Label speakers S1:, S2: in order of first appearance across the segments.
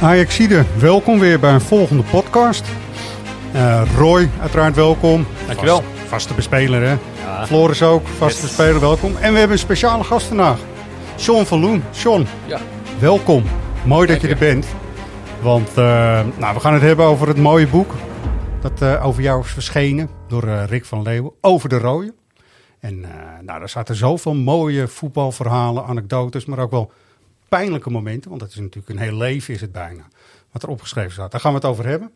S1: Ajaxide, welkom weer bij een volgende podcast. Eh, Roy, uiteraard welkom.
S2: Dankjewel.
S1: Vast- vaste bespeler, hè? Floris ook, vaste bespeler, welkom. En we hebben een speciale gast vandaag. Sean van Loen. Sean,
S2: Ja.
S1: welkom. Mooi dat je er bent. Want eh, nou, we gaan het hebben over het mooie boek dat eh, over jou is verschenen door eh, Rick van Leeuwen, Over de Rooie. En eh, nou, daar zaten zoveel mooie voetbalverhalen, anekdotes, maar ook wel pijnlijke momenten. Want dat is natuurlijk een heel leven is het bijna, wat er opgeschreven staat. Daar gaan we het over hebben.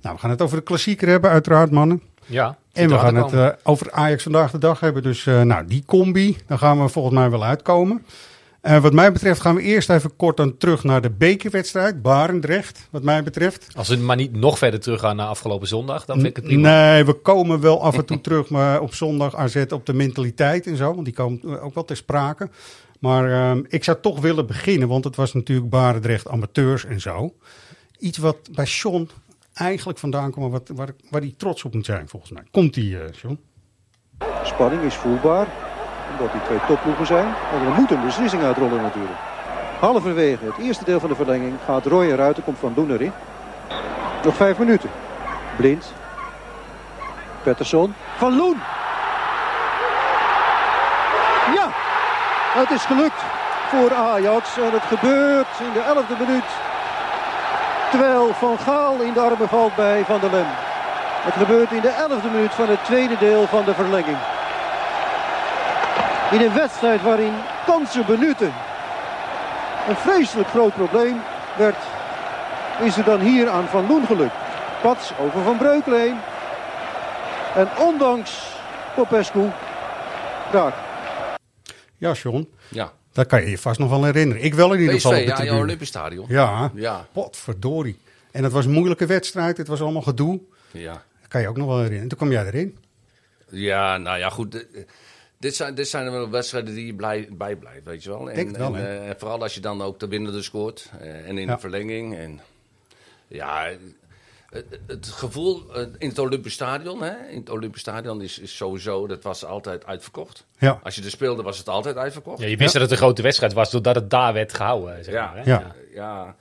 S1: Nou, we gaan het over de klassieker hebben, uiteraard mannen.
S2: Ja.
S1: En we gaan het eh, over Ajax vandaag de dag hebben. Dus eh, nou, die combi, daar gaan we volgens mij wel uitkomen. Eh, wat mij betreft gaan we eerst even kort dan terug naar de bekerwedstrijd. Barendrecht, wat mij betreft.
S2: Als we maar niet nog verder teruggaan naar afgelopen zondag, dan vind ik het prima.
S1: Nee, we komen wel af en toe terug maar op zondag AZ op de mentaliteit en zo. Want die komen eh, ook wel ter sprake. Maar ehm, ik zou toch willen beginnen, want het was natuurlijk Barendrecht amateurs en zo. Iets wat bij Sean eigenlijk vandaan komt, maar wat, waar, waar hij trots op moet zijn volgens mij. Komt-ie, eh Sean?
S3: Spanning is voelbaar. Omdat die twee topploegen zijn. En er moet een beslissing uitrollen natuurlijk. Halverwege het eerste deel van de verlenging gaat Roy eruit. Er komt Van Loen erin. Nog vijf minuten. Blind. Pettersson. Van Loen. Ja, het is gelukt voor Ajax. En het gebeurt in de elfde minuut. Terwijl Van Gaal in de armen valt bij Van der Lem. Het gebeurt in de 11e minuut van het tweede deel van de verlenging. In een wedstrijd waarin kansen benutten een vreselijk groot probleem werd, is er dan hier aan Van Loen gelukt. Pats over Van Breukelen heen. En ondanks Popescu raak.
S1: Ja, Sean.
S4: Ja,
S1: Dat kan je je vast nog wel herinneren. Ik wel in ieder
S4: PSV,
S1: geval. op de
S4: ja, in het
S1: tribune.
S4: Olympisch Stadion.
S1: Ja,
S4: Ja.
S1: potverdorie. En het was een moeilijke wedstrijd. Het was allemaal gedoe.
S4: Ja.
S1: Dat kan je ook nog wel herinneren. En toen kwam jij erin.
S4: ja, nou ja, goed. eh, Dit zijn, dit zijn wel wedstrijden die je blij, bij blijft, weet je wel. En,
S1: Denk het wel,
S4: en,
S1: hè?
S4: eh, vooral als je dan ook de winnende scoort eh, en in
S1: Ja.
S4: de verlenging. En, ja, eh, het, het gevoel eh, in het Olympisch Stadion, hè, in het Olympisch Stadion is, is sowieso, dat was altijd uitverkocht.
S1: Ja.
S4: Als je er speelde, was het altijd uitverkocht.
S2: Ja, je wist dat het een grote wedstrijd was, doordat het daar werd gehouden. Zeg
S4: Ja.
S2: maar, hè?
S1: Ja.
S4: Ja,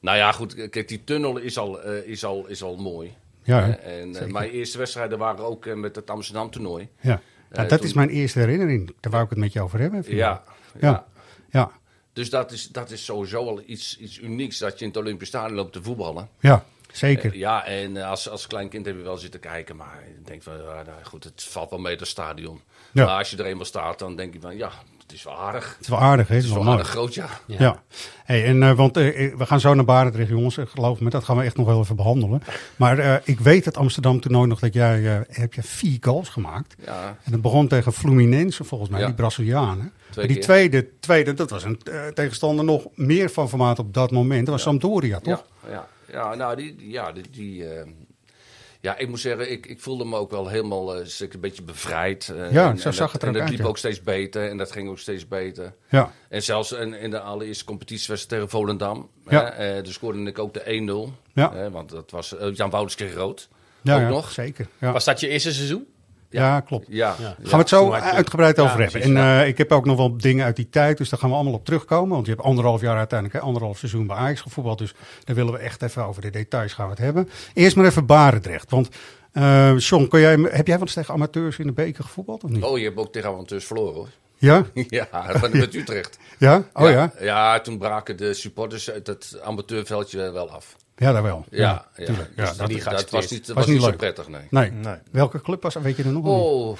S4: nou ja, goed. Kijk, die tunnel is al, eh, is al, is al mooi.
S1: Ja,
S4: Eh,
S1: hè?
S4: en, eh, mijn eerste wedstrijden waren ook eh, met het Amsterdam toernooi.
S1: ja. Nou,
S4: Eh,
S1: dat
S4: toen-
S1: is mijn eerste herinnering. Daar wou ik het met je over hebben.
S4: Ja,
S1: Ja.
S4: ja.
S1: Ja.
S4: Dus dat is, dat is sowieso al iets, iets unieks dat je in het Olympisch Stadion loopt te voetballen.
S1: Ja, zeker.
S4: Ja, en eh, als, als klein kind heb je wel zitten kijken, maar je denkt van, ja, nou goed, het valt wel mee dat stadion.
S1: Ja.
S4: Maar als je er eenmaal staat, dan denk je van, ja, het is wel aardig.
S1: Het is wel aardig, hè? Het is
S4: Het
S1: wel
S4: is wel
S1: mooi.
S4: aardig groot, ja.
S1: Ja. Hey, en, eh, want eh, eh, we gaan zo naar Barendrecht, jongens. Eh, Geloof me, dat gaan we echt nog wel even behandelen. Maar eh, ik weet het Amsterdam toernooi nog dat jij eh, heb je vier goals gemaakt.
S4: Ja.
S1: En dat begon tegen Fluminense, volgens mij,
S4: Ja.
S1: die Brazilianen. Maar die
S4: keer.
S1: tweede, tweede, dat was een eh, tegenstander nog meer van formaat op dat moment. Dat was Sampdoria, toch?
S4: Ja, ja, ja nou, die, die- ja, die, die, eh, ja, ik moet zeggen, ik, ik voelde me ook wel helemaal eh, een beetje bevrijd. eh,
S1: Ja,
S4: en,
S1: zo
S4: en
S1: zag
S4: dat,
S1: het er
S4: En
S1: ook
S4: dat
S1: uit,
S4: liep
S1: ja.
S4: ook steeds beter en dat ging ook steeds beter.
S1: Ja.
S4: En zelfs in, in de allereerste competitiewedstrijd tegen Volendam.
S1: Ja.
S4: Hè, eh, dus scoorde ik ook de 1-0.
S1: Ja.
S4: hè, want dat was eh, Jan Wouters kreeg rood.
S1: Ja,
S4: ook
S1: ja,
S4: nog.
S1: zeker. Ja,
S2: Was dat je eerste seizoen?
S1: ja. klopt.
S4: Ja.
S2: Ja.
S1: Gaan we het zo
S2: toen had je-
S1: uitgebreid
S2: Ja,
S1: over hebben.
S2: precies,
S1: En eh, ik heb ook nog wel dingen uit die tijd, dus daar gaan we allemaal op terugkomen. Want je hebt anderhalf jaar uiteindelijk, hè, anderhalf seizoen bij Ajax gevoetbald. Dus daar willen we echt even over de details gaan we het hebben. Eerst maar even Barendrecht. Want eh John, kon jij, heb jij wel eens tegen amateurs in de beker gevoetbald of niet?
S4: Oh, je hebt ook tegen amateurs verloren hoor.
S1: Ja?
S4: ja, van, met Utrecht.
S1: Ja? Oh ja? Ja,
S4: ja? toen braken de supporters uit het amateurveldje wel af.
S1: daar wel.
S4: Ja, ja,
S1: tuurlijk.
S4: Dus
S1: Ja, dat
S4: die- dat,
S2: geaccepteerd.
S4: was niet,
S1: Was
S4: was
S1: niet
S4: niet zo
S1: leuk.
S4: prettig, nee.
S1: nee. Welke club was dat? Weet je er nog wel niet?
S4: Oh.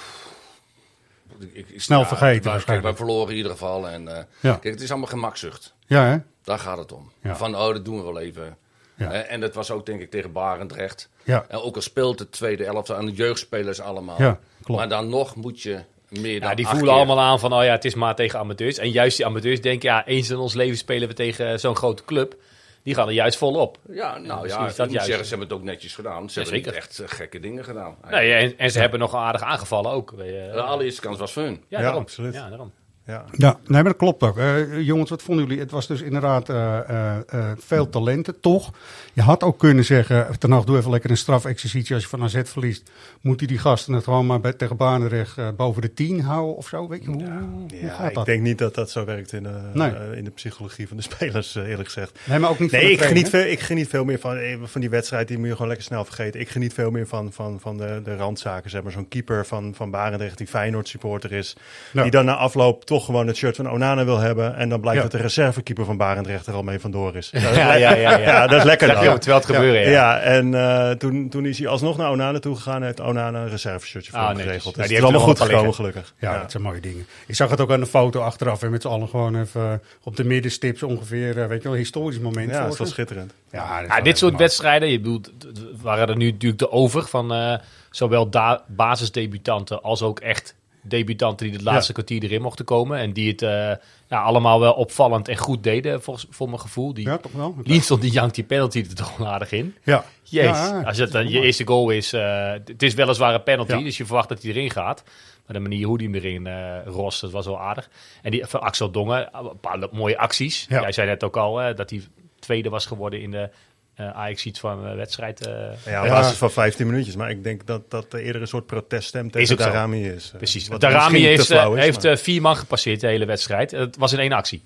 S4: Ik, ik- ik-
S1: Snel vergeten
S4: wij- Kijk,
S1: waarschijnlijk.
S4: wij verloren in ieder geval. En, eh,
S1: Ja.
S4: Kijk, het is allemaal gemakzucht.
S1: Ja, hè?
S4: Daar gaat het om.
S1: Ja.
S4: Van, oh, dat doen we wel even.
S1: Ja.
S4: Eh, en dat was ook denk ik tegen Barendrecht.
S1: Ja.
S4: En ook al speelt de tweede elftal aan de jeugdspelers allemaal.
S1: Ja, klopt.
S4: Maar dan nog moet je meer dan
S2: Ja, die
S4: acht
S2: voelen
S4: keer.
S2: allemaal aan van, oh ja, het is maar tegen amateurs. En juist die amateurs denken, ja, eens in ons leven spelen we tegen eh, zo'n grote club. Die gaan er juist vol op.
S4: Ja, nou
S2: misschien
S4: ja,
S2: is dat
S4: ik moet
S2: juist.
S4: zeggen, ze hebben het ook netjes gedaan. Ze
S2: Ja,
S4: hebben niet
S2: zeker.
S4: echt eh, gekke dingen gedaan.
S2: Nee, en, en ze hebben nog aardig aangevallen ook. Weet je.
S4: De allereerste kans was voor hun.
S2: ja,
S5: Ja,
S2: daarom.
S5: absoluut.
S2: Ja, daarom.
S5: Ja.
S1: Ja, nee, maar dat klopt ook. Eh, jongens, wat vonden jullie? Het was dus inderdaad eh, eh, eh, veel talenten, toch? Je had ook kunnen zeggen, ten acht doe even lekker een strafexercitie. Als je van AZ verliest, moeten die gasten het gewoon maar bij, tegen Banenrecht eh, boven de tien houden of zo? Weet je, hoe, hoe
S5: Ja,
S1: gaat
S5: ik
S1: dat?
S5: denk niet dat dat zo werkt in, eh,
S1: Nee.
S5: eh, in de psychologie van de spelers, eh, eerlijk gezegd.
S1: Nee, maar ook niet van
S5: Nee,
S1: de
S5: ik geniet,
S1: trainer.
S5: veel, ik geniet veel meer van, eh, van die wedstrijd. Die moet je gewoon lekker snel vergeten. Ik geniet veel meer van, van, van de, de randzaken. Zeg maar. Zo'n keeper van, van Barendrecht die Feyenoord supporter is.
S1: Ja.
S5: Die dan na afloop toch gewoon het shirt van Onana wil hebben. En dan blijkt
S1: Ja.
S5: dat de reservekeeper van Barendrecht er al mee vandoor is. Dat is
S2: Ja,
S5: le-
S2: ja, ja, ja.
S5: Ja, dat is lekker
S2: Dat
S5: dan.
S2: wil- terwijl het gebeuren, ja.
S5: Ja, en eh, toen, toen is hij alsnog naar Onana toe gegaan. en heeft Onana een reserveshirtje voor
S2: Ah,
S5: hem
S2: netjes.
S5: geregeld.
S2: Ja,
S5: Dus
S2: die
S5: het
S2: heeft
S5: is allemaal
S2: er
S5: goed gekomen,
S2: nog wat
S5: gelukkig.
S1: Ja, dat zijn mooie dingen. Ik zag het ook aan de foto achteraf. En met z'n allen gewoon even eh, op de middenstips ongeveer, eh, weet je wel, een historisch moment.
S5: Ja,
S1: voor
S5: dat is wel
S1: ze.
S5: schitterend.
S1: Ja,
S2: Ja, Ah, dit soort wedstrijden, je bedoelt, d- d- waren er nu natuurlijk de over van eh, zowel da- basisdebutanten als ook echt debutanten die het laatste kwartier erin mochten komen. En die het eh, ja, allemaal wel opvallend en goed deden, volgens, voor mijn gevoel. Die
S1: Ja, toch wel?
S2: Linston die jankt die penalty er toch wel aardig in.
S1: Ja.
S2: Jezus,
S1: Ja,
S2: als het dan je eerste goal is, eh, d- het is weliswaar een penalty,
S1: Ja.
S2: dus je verwacht dat hij erin gaat. Maar de manier hoe die hem erin eh rost, dat was wel aardig. En die van Axel Dongen, eh, een paar mooie acties.
S1: Ja.
S2: Jij zei net ook al eh, dat hij tweede was geworden in de eh ajax iets van eh, wedstrijd. eh,
S5: Ja, op
S1: Ja.
S5: basis van 15 minuutjes. Maar ik denk dat dat er eerder een soort proteststem
S2: Is
S5: tegen
S2: ook zo.
S5: Darami is.
S2: Precies.
S5: Wat
S2: Darami
S5: misschien te
S2: heeft, eh,
S5: flauw is,
S2: heeft
S5: maar-
S2: eh, vier man gepasseerd de hele wedstrijd. Het was in één actie,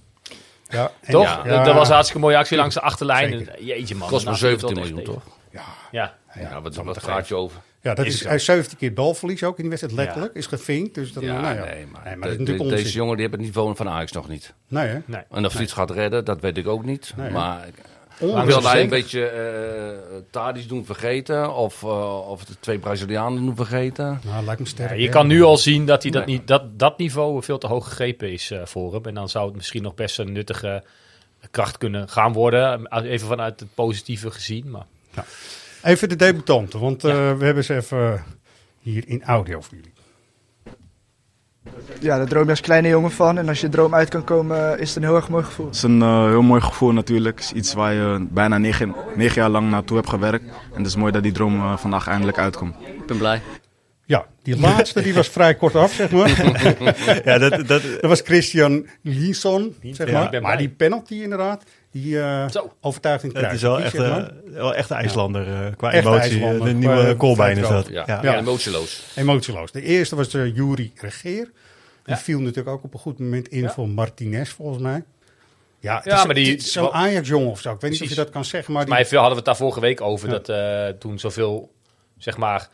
S1: Ja, en-
S2: toch?
S4: ja.
S2: Dat- Dat was een hartstikke mooie actie langs de achterlijn. En, jeetje man. Nou,
S4: Kost maar
S2: dat naast-
S4: 17
S2: dat
S4: miljoen,
S2: echt
S4: toch?
S2: tegen. Ja.
S4: Ja, wat, wat gaat je over?
S1: Ja, dat
S2: Is
S1: is,
S2: zo.
S1: hij heeft 17 keer balverlies ook in die wedstrijd, letterlijk. Is gevinkt, dus dan,
S4: Ja,
S1: nou ja.
S4: nee, maar,
S1: dat is
S4: de- de-
S1: natuurlijk onzin.
S4: deze jongen die hebben het niveau van Ajax nog niet.
S1: Nee, hè?
S2: Nee.
S4: En of hij het gaat redden, dat weet ik ook niet. maar
S1: Onzin. Nou,
S4: wil hij een
S1: Zeker.
S4: beetje eh Tadic doen vergeten? Of, eh, of de twee Brazilianen doen vergeten?
S1: Nou, lijkt me sterk.
S2: Ja, je
S1: hè?
S2: kan nu al zien dat, hij dat,
S4: Nee.
S2: niet, dat dat niveau veel te hoog gegrepen is eh, voor hem. En dan zou het misschien nog best een nuttige kracht kunnen gaan worden. eh, Even vanuit het positieve gezien. Maar
S1: Even de debutanten, want eh, we hebben ze even hier in audio voor jullie.
S6: Ja, daar droom je als kleine jongen van. En als je droom uit kan komen, is het een heel erg mooi gevoel.
S7: Het is een eh, heel mooi gevoel natuurlijk. Het is iets waar je bijna negen, negen jaar lang naartoe hebt gewerkt. En het is mooi dat die droom eh, vandaag eindelijk uitkomt.
S4: Ik ben blij.
S1: Ja, die laatste die was vrij kort af, zeg maar.
S5: eh, Ja, dat, dat,
S1: Dat was Christian Linson, zeg
S5: Ja,
S1: maar.
S5: ik
S2: ben
S1: maar
S2: blij.
S1: die penalty inderdaad, die eh
S2: Zo.
S1: overtuiging
S5: dat
S1: kruis.
S5: is wel
S1: Die,
S5: echt,
S1: zeg
S5: eh,
S1: maar.
S5: wel echt een IJslander eh, qua
S1: Echt
S5: emotie.
S1: IJslander,
S5: de
S1: qua,
S5: nieuwe
S1: eh,
S5: Colbein is dat.
S1: vrijtrap.
S4: Ja,
S5: Ja.
S4: ja,
S1: Ja.
S4: emotieloos.
S1: Emotieloos. De eerste was eh, Jury Regeer. Die viel natuurlijk ook op een goed moment in voor Martinez, volgens mij. Ja, het
S2: Ja,
S1: is,
S2: maar die-
S1: het is zo'n Ajax-jongen of zo. Ik weet niet
S2: Precies.
S1: of je dat kan zeggen, maar die...
S2: Maar veel hadden we het daar vorige week over. Dat eh, toen zoveel zeg maar,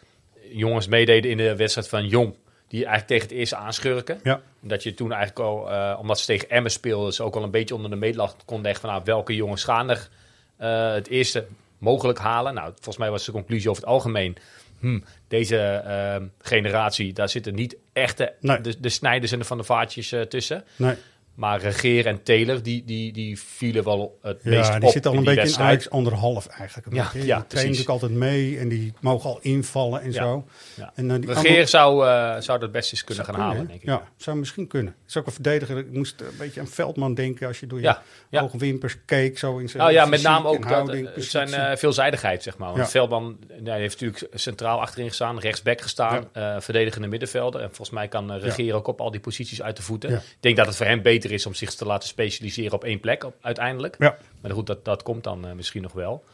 S2: jongens meededen in de wedstrijd van Jong. Die eigenlijk tegen het eerste aanschurken.
S1: Ja.
S2: Dat je toen eigenlijk al, eh, omdat ze tegen Emmen speelden, ze ook al een beetje onder de meetlat kon leggen van nou, welke jongens gaan er eh, het eerste mogelijk halen. Nou, volgens mij was de conclusie over het algemeen. hm, deze eh, generatie, daar zitten niet echte
S1: Nee.
S2: de, de snijders en de van de vaartjes eh, tussen.
S1: Nee.
S2: Maar Regeer en Taylor, die, die, die vielen wel het meest
S1: Ja,
S2: op.
S1: die zitten al
S2: in
S1: een
S2: die
S1: beetje in
S2: wedstrijd.
S1: Ajax anderhalf eigenlijk. Een
S2: Ja,
S1: beetje.
S2: ja,
S1: Die trainen
S2: precies.
S1: natuurlijk altijd mee en die mogen al invallen en
S2: Ja,
S1: zo.
S2: ja.
S1: En, eh, die
S2: Regeer
S1: andere-
S2: zou, eh, zou dat best eens kunnen gaan halen,
S1: hè?
S2: denk ik.
S1: Ja, zou misschien kunnen. Het is ook een verdediger. Ik moest een beetje aan Veldman denken als je door je
S2: Ja, ja.
S1: oogwimpers keek. Zo in zijn
S2: Nou ja, met
S1: fysiek
S2: name
S1: en
S2: ook dat,
S1: houding,
S2: eh,
S1: precies.
S2: zijn eh, veelzijdigheid, zeg maar. Want
S1: Ja.
S2: Veldman nee, hij heeft natuurlijk centraal achterin gestaan, rechtsback gestaan, eh, verdedigende middenvelder. En volgens mij kan eh, Regeer ook op al die posities uit de voeten.
S1: Ja.
S2: Ik denk dat het voor hem beter is om zich te laten specialiseren op één plek op- uiteindelijk.
S1: Ja.
S2: Maar goed, dat, dat komt dan eh, misschien nog wel.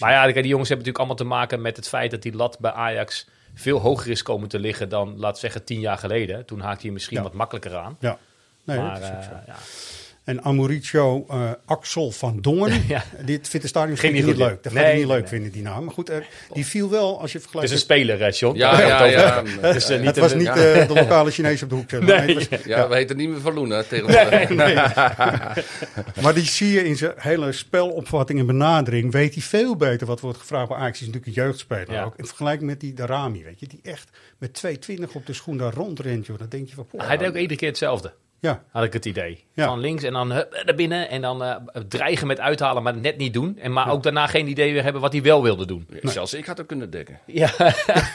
S2: Maar ja, kijk, die jongens hebben natuurlijk allemaal te maken met het feit dat die lat bij Ajax veel hoger is komen te liggen dan, laat zeggen, tien jaar geleden. Toen haakte hij misschien
S1: Ja.
S2: wat makkelijker aan.
S1: ja. Nee,
S2: maar
S1: dat is ook
S2: eh,
S1: zo.
S2: ja,
S1: En Amoricio eh, Axel van Dongen.
S2: Ja.
S1: Dit vindt de stadion
S2: Ging
S1: niet
S2: niet goed,
S1: leuk. Dat gaat
S2: nee,
S1: hij niet
S2: nee,
S1: leuk
S2: nee.
S1: vinden, die naam. Maar goed, eh, die viel wel als je
S2: het is
S1: vergelijkt.
S2: een speler, hè, John?
S4: Ja,
S2: Daar hebben we
S4: ja,
S2: het over.
S4: ja. ja.
S2: Dus, eh, niet
S1: het
S2: een-
S1: was niet
S4: ja.
S1: eh, de lokale Chinees op de hoek. zeg maar.
S2: Nee.
S1: Nee, het was-
S4: Ja, we heten niet meer Van Loen, hè, tegenwoordig.
S1: Maar die zie je in zijn hele spelopvatting en benadering. Weet hij veel beter wat wordt gevraagd bij Ajax. Hij is natuurlijk een jeugdspeler
S2: Ja.
S1: ook. In vergelijking met die Darami, weet je. Die echt met 2,20 op de schoen daar rondrent, joh. Dan denk je van, poh,
S2: Hij deed ook iedere keer hetzelfde.
S1: Ja.
S2: Had ik het idee.
S1: Ja.
S2: Van links en dan hup, naar binnen en dan eh, dreigen met uithalen, maar net niet doen. En maar ook daarna geen idee weer hebben wat hij wel wilde doen.
S4: Zelfs ik had het kunnen dekken.
S2: Ja.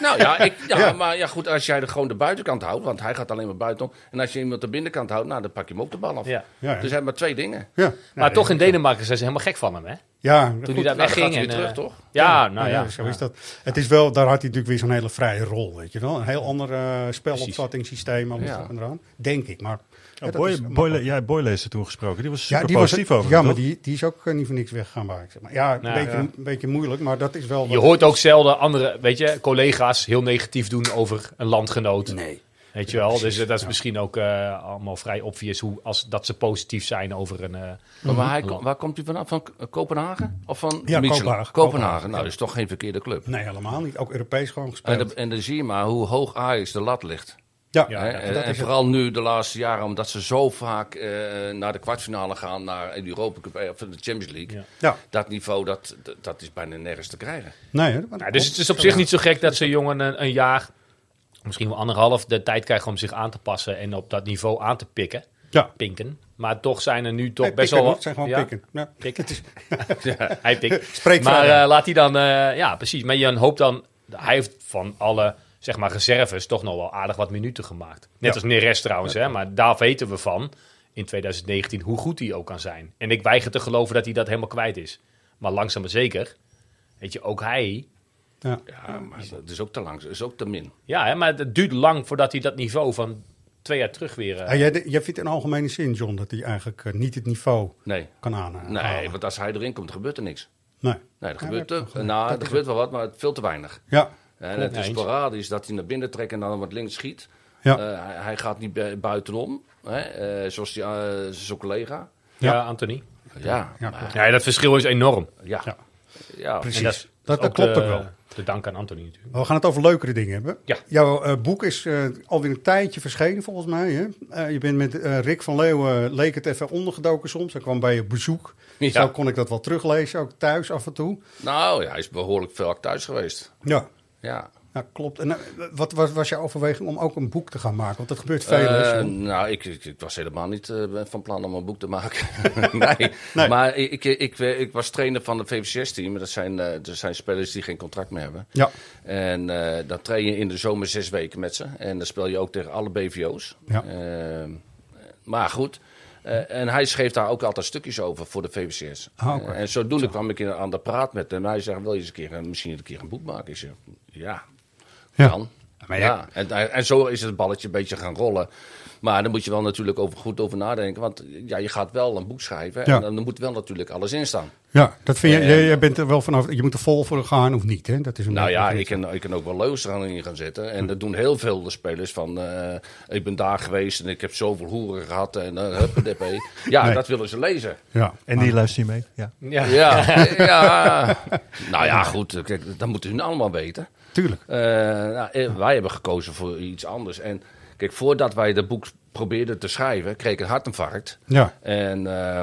S4: Nou ja, ik, ja, maar ja, goed, als jij er gewoon de buitenkant houdt, want hij gaat alleen maar buitenom. En als je iemand de binnenkant houdt, nou, dan pak je hem ook de bal af.
S2: Ja.
S1: Ja, ja.
S4: Dus hij had maar twee dingen.
S1: Ja,
S2: maar toch in Denemarken zijn ze helemaal gek van hem, hè?
S1: ja
S2: Toen
S1: goed.
S2: hij daar
S4: Nou, dan
S2: wegging.
S4: gaat hij
S2: en,
S4: weer
S2: eh,
S4: terug, toch?
S2: Ja, nou ja.
S1: zo is dat. Het is wel, daar had hij natuurlijk weer zo'n hele vrije rol, weet je wel. Een heel ander eh spelopvattingssysteem, alles
S4: Ja.
S1: erop en eraan. Denk ik, maar... ja,
S5: Ja,
S1: dat is-
S5: Oh, Boy, Boyle, ja, Boyle is er toen gesproken. Die was super
S1: Ja, die was,
S5: positief over
S1: ja
S5: hem,
S1: maar
S5: toch?
S1: die, die is ook eh, niet voor niks weggegaan, waar ik zeg maar. Ja, een,
S2: Nou,
S1: beetje,
S2: ja.
S1: een beetje moeilijk, maar dat is wel...
S2: Je
S1: wat-
S2: hoort ook zelden andere, weet je, collega's heel negatief doen over een landgenoot.
S1: Nee.
S2: Weet je wel, dus eh, dat is misschien ook eh, allemaal vrij obvious hoe, als, dat ze positief zijn over een... eh,
S4: Maar waar, hij kom- waar komt hij vanaf? Van K- Kopenhagen? Of van
S1: Mhm. Ja,
S4: Mechelen?
S1: Kopenhagen.
S4: Kopenhagen. Nou, dat is toch geen verkeerde club.
S1: Nee, helemaal niet. Ook Europees gewoon
S4: En,
S1: gespeeld.
S4: dan- en dan zie je maar hoe hoog Ajax de lat ligt.
S1: ja,
S2: ja,
S4: Hè,
S1: dat
S4: en
S1: is
S4: en
S1: het.
S4: vooral nu de laatste jaren, omdat ze zo vaak eh, naar de kwartfinale gaan, naar de Europa Cup eh, of de Champions League.
S2: Ja.
S1: Ja.
S4: Dat niveau, dat, dat- dat is bijna nergens te krijgen.
S1: Nee, hè, maar dat
S2: nou, dus
S1: klopt.
S2: het is op zich niet zo gek dat zo'n jongen een, een jaar, misschien wel anderhalf, de tijd krijgt om zich aan te passen en op dat niveau aan te pikken.
S1: Ja.
S2: Pinken. Maar toch zijn er nu toch
S1: Nee,
S2: best
S1: pikken,
S2: wel...
S1: hoor. Het zijn gewoon
S2: ja,
S1: pikken. Ja.
S2: pikken. Ja, hij pikt.
S1: Spreekt
S2: maar
S1: verder.
S2: eh, laat hij dan, eh, ja precies. Maar Jan hoopt dan, hij heeft van alle zeg maar reserves toch nog wel aardig wat minuten gemaakt. Net
S1: Ja.
S2: als Neres trouwens, hè, maar daar weten we van in 2019 hoe goed hij ook kan zijn. En ik weiger te geloven dat hij dat helemaal kwijt is. Maar langzaam maar zeker, weet je, ook hij.
S1: Ja.
S4: Ja, maar dat is ook te lang, dat is ook te min.
S2: Ja, hè, maar het duurt lang voordat hij dat niveau van twee jaar terug weer... eh,
S1: Ja, jij, jij vindt in algemene zin, John, dat hij eigenlijk eh, niet het niveau
S4: Nee,
S1: kan aanhalen.
S4: nee want als hij erin komt, gebeurt er niks.
S1: Nee.
S4: Nee, er
S1: Ah. Ja,
S4: gebeurt,
S1: dat
S4: er-
S1: is wel
S4: nou,
S1: gelijk.
S4: er gebeurt wel wat, maar veel te weinig.
S1: Ja,
S4: En het is
S2: eens.
S4: sporadisch dat hij naar binnen trekt en dan wat links schiet.
S1: Ja.
S4: Eh, hij, hij gaat niet bu- buitenom, hè, eh, zoals die, eh, zijn collega.
S2: ja.
S1: ja.
S2: Anthony.
S4: Ja,
S1: Ja,
S4: maar-
S1: klopt.
S2: Ja, dat verschil is enorm.
S4: ja.
S1: Ja.
S4: ja.
S1: Precies.
S2: En dat, is-
S1: Dat-
S2: is
S1: dat klopt
S2: de-
S1: ook wel.
S2: De dank aan Anthony natuurlijk.
S1: Maar we gaan het over leukere dingen hebben.
S2: Ja.
S1: Jouw eh, boek is eh, alweer een tijdje verschenen, volgens mij. Hè? Eh, je bent met eh, Rick van Leeuwen, leek het even ondergedoken soms. Hij kwam bij je bezoek.
S4: Ja.
S1: Zo kon ik dat wel teruglezen, ook thuis af en toe.
S4: Nou, ja, hij is behoorlijk vaak thuis geweest.
S1: Ja,
S4: Ja.
S1: ja klopt. En, eh, wat was, was jouw overweging om ook een boek te gaan maken? Want dat gebeurt veel. hè,
S4: Eh,
S1: John?
S4: nou, ik, ik, ik was helemaal niet eh, van plan om een boek te maken. nee. Maar ik, ik, ik, eh, ik was trainer van de VVCS-team. Dat zijn, eh, dat zijn spelers die geen contract meer hebben.
S1: Ja.
S4: En eh, dan train je in de zomer zes weken met ze. En dan speel je ook tegen alle BVO's.
S1: Ja.
S4: Ehm, maar goed. Eh, en hij schreef daar ook altijd stukjes over voor de VVCS.
S1: Ah, oké.
S4: Eh, en zodoende kwam ik in- aan de praat met hem. Hij zei, wil je eens een keer, een- misschien een keer een boek maken? Ik zei, ja,
S1: Ja.
S4: kan.
S1: Maar
S4: Maar
S1: ja.
S4: ja. en, en zo is het balletje een beetje gaan rollen. Maar dan moet je wel natuurlijk over, goed over nadenken. Want ja, je gaat wel een boek schrijven.
S1: Ja.
S4: En dan moet wel natuurlijk alles in staan.
S1: Ja, dat vind je,
S4: Eh,
S1: jij, jij bent er wel vanaf. Je moet er vol voor gaan of niet, hè? Dat is een
S4: Nou
S1: beetje
S4: ja,
S1: wat
S4: ik kan, ik kan ook wel leus in gaan zetten. En dat doen heel veel de spelers van... eh, ik ben daar geweest en ik heb zoveel hoeren gehad. En eh, huppedepé. Ja,
S1: Nee.
S4: dat willen ze lezen.
S1: Ja,
S5: En die luistert niet mee. Ja.
S4: Ja, ja. Nou ja, goed. Kijk, dat moeten hun allemaal weten.
S1: tuurlijk.
S4: Eh, nou, eh, wij hebben gekozen voor iets anders. En kijk, voordat wij dat boek probeerden te schrijven, kreeg ik een hartinfarct.
S1: Ja,
S4: En eh,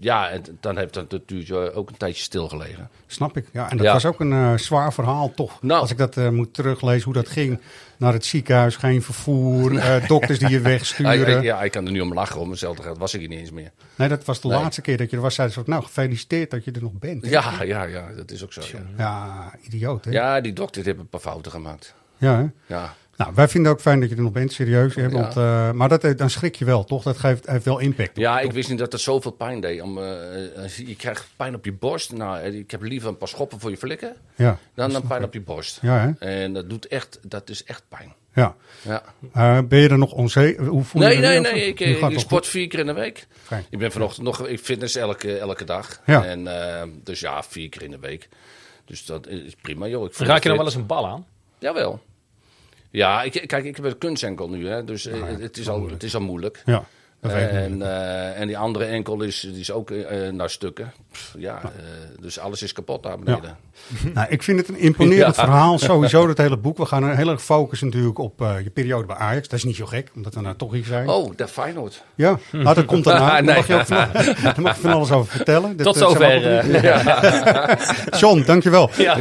S4: ja, en dan heeft dat natuurlijk ook een tijdje stilgelegen.
S1: snap ik. Ja, en dat
S4: Ja.
S1: was ook een eh, zwaar verhaal, toch?
S4: Nou.
S1: Als ik dat eh, moet teruglezen, hoe dat ging. Naar het ziekenhuis, geen vervoer, eh, dokters die je
S4: Ja,
S1: wegsturen.
S4: ik, ja, ik kan er nu om lachen, om hetzelfde geld was ik hier niet eens meer.
S1: Nee, dat was de
S4: Nee.
S1: laatste keer dat je er was. Zeiden ze ook, nou, gefeliciteerd dat je er nog bent. hè?
S4: Ja, ja, ja, dat is ook zo. Ja,
S1: Ja, idioot, hè?
S4: ja die dokter die heeft een paar fouten gemaakt.
S1: Ja, hè?
S4: Ja,
S1: Nou, wij vinden ook fijn dat je er nog bent, serieus. Hè? Want, eh, maar dat, eh, dan schrik je wel, toch? Dat geeft, heeft wel impact.
S4: ja ik wist niet dat het zoveel pijn deed. Om, eh, eh, je krijgt pijn op je borst. Nou, eh, ik heb liever een paar schoppen voor je flikken
S1: Ja,
S4: dan een pijn op je borst.
S1: ja hè?
S4: En dat, doet echt, dat is echt pijn.
S1: Ja.
S4: Ja.
S1: Eh, ben je er nog onzeker? Hoe voel je
S4: Nee,
S1: je
S4: nee,
S1: nu?
S4: nee. Ik,
S1: Nu
S4: eh,
S1: gaat het
S4: ik
S1: wel
S4: sport vier keer in de week.
S1: Fijn.
S4: Ik ben vanochtend nog, ik fitness elke, elke dag.
S1: Ja.
S4: En, eh, dus ja, vier keer in de week. Dus dat is prima, joh. Ik voel
S2: Raak
S4: me
S2: je dan wel
S4: fit.
S2: eens een bal aan?
S4: Jawel. Ja, ik, kijk, ik heb een kunstenkel nu, hè, dus
S1: Ah,
S4: eh, het, is al, het is al moeilijk.
S1: Ja, dat weet ik niet.
S4: En, eh, en die andere enkel is, die is ook eh, naar stukken. Pff, ja, eh, dus alles is kapot daar beneden.
S1: Nou, ik vind het een imponerend
S4: Ja.
S1: verhaal, sowieso dat hele boek. We gaan er heel erg focussen natuurlijk op eh, je periode bij Ajax. Dat is niet zo gek, omdat we nou toch hier zijn.
S4: Oh, de Feyenoord.
S1: Ja, nou, dat komt daarna. Daar
S4: Nee.
S1: mag je ook van, daar mag je van alles over vertellen. Dat,
S2: Tot
S1: eh, zijn we
S2: zover,
S1: ook niet- John, dankjewel. Eh,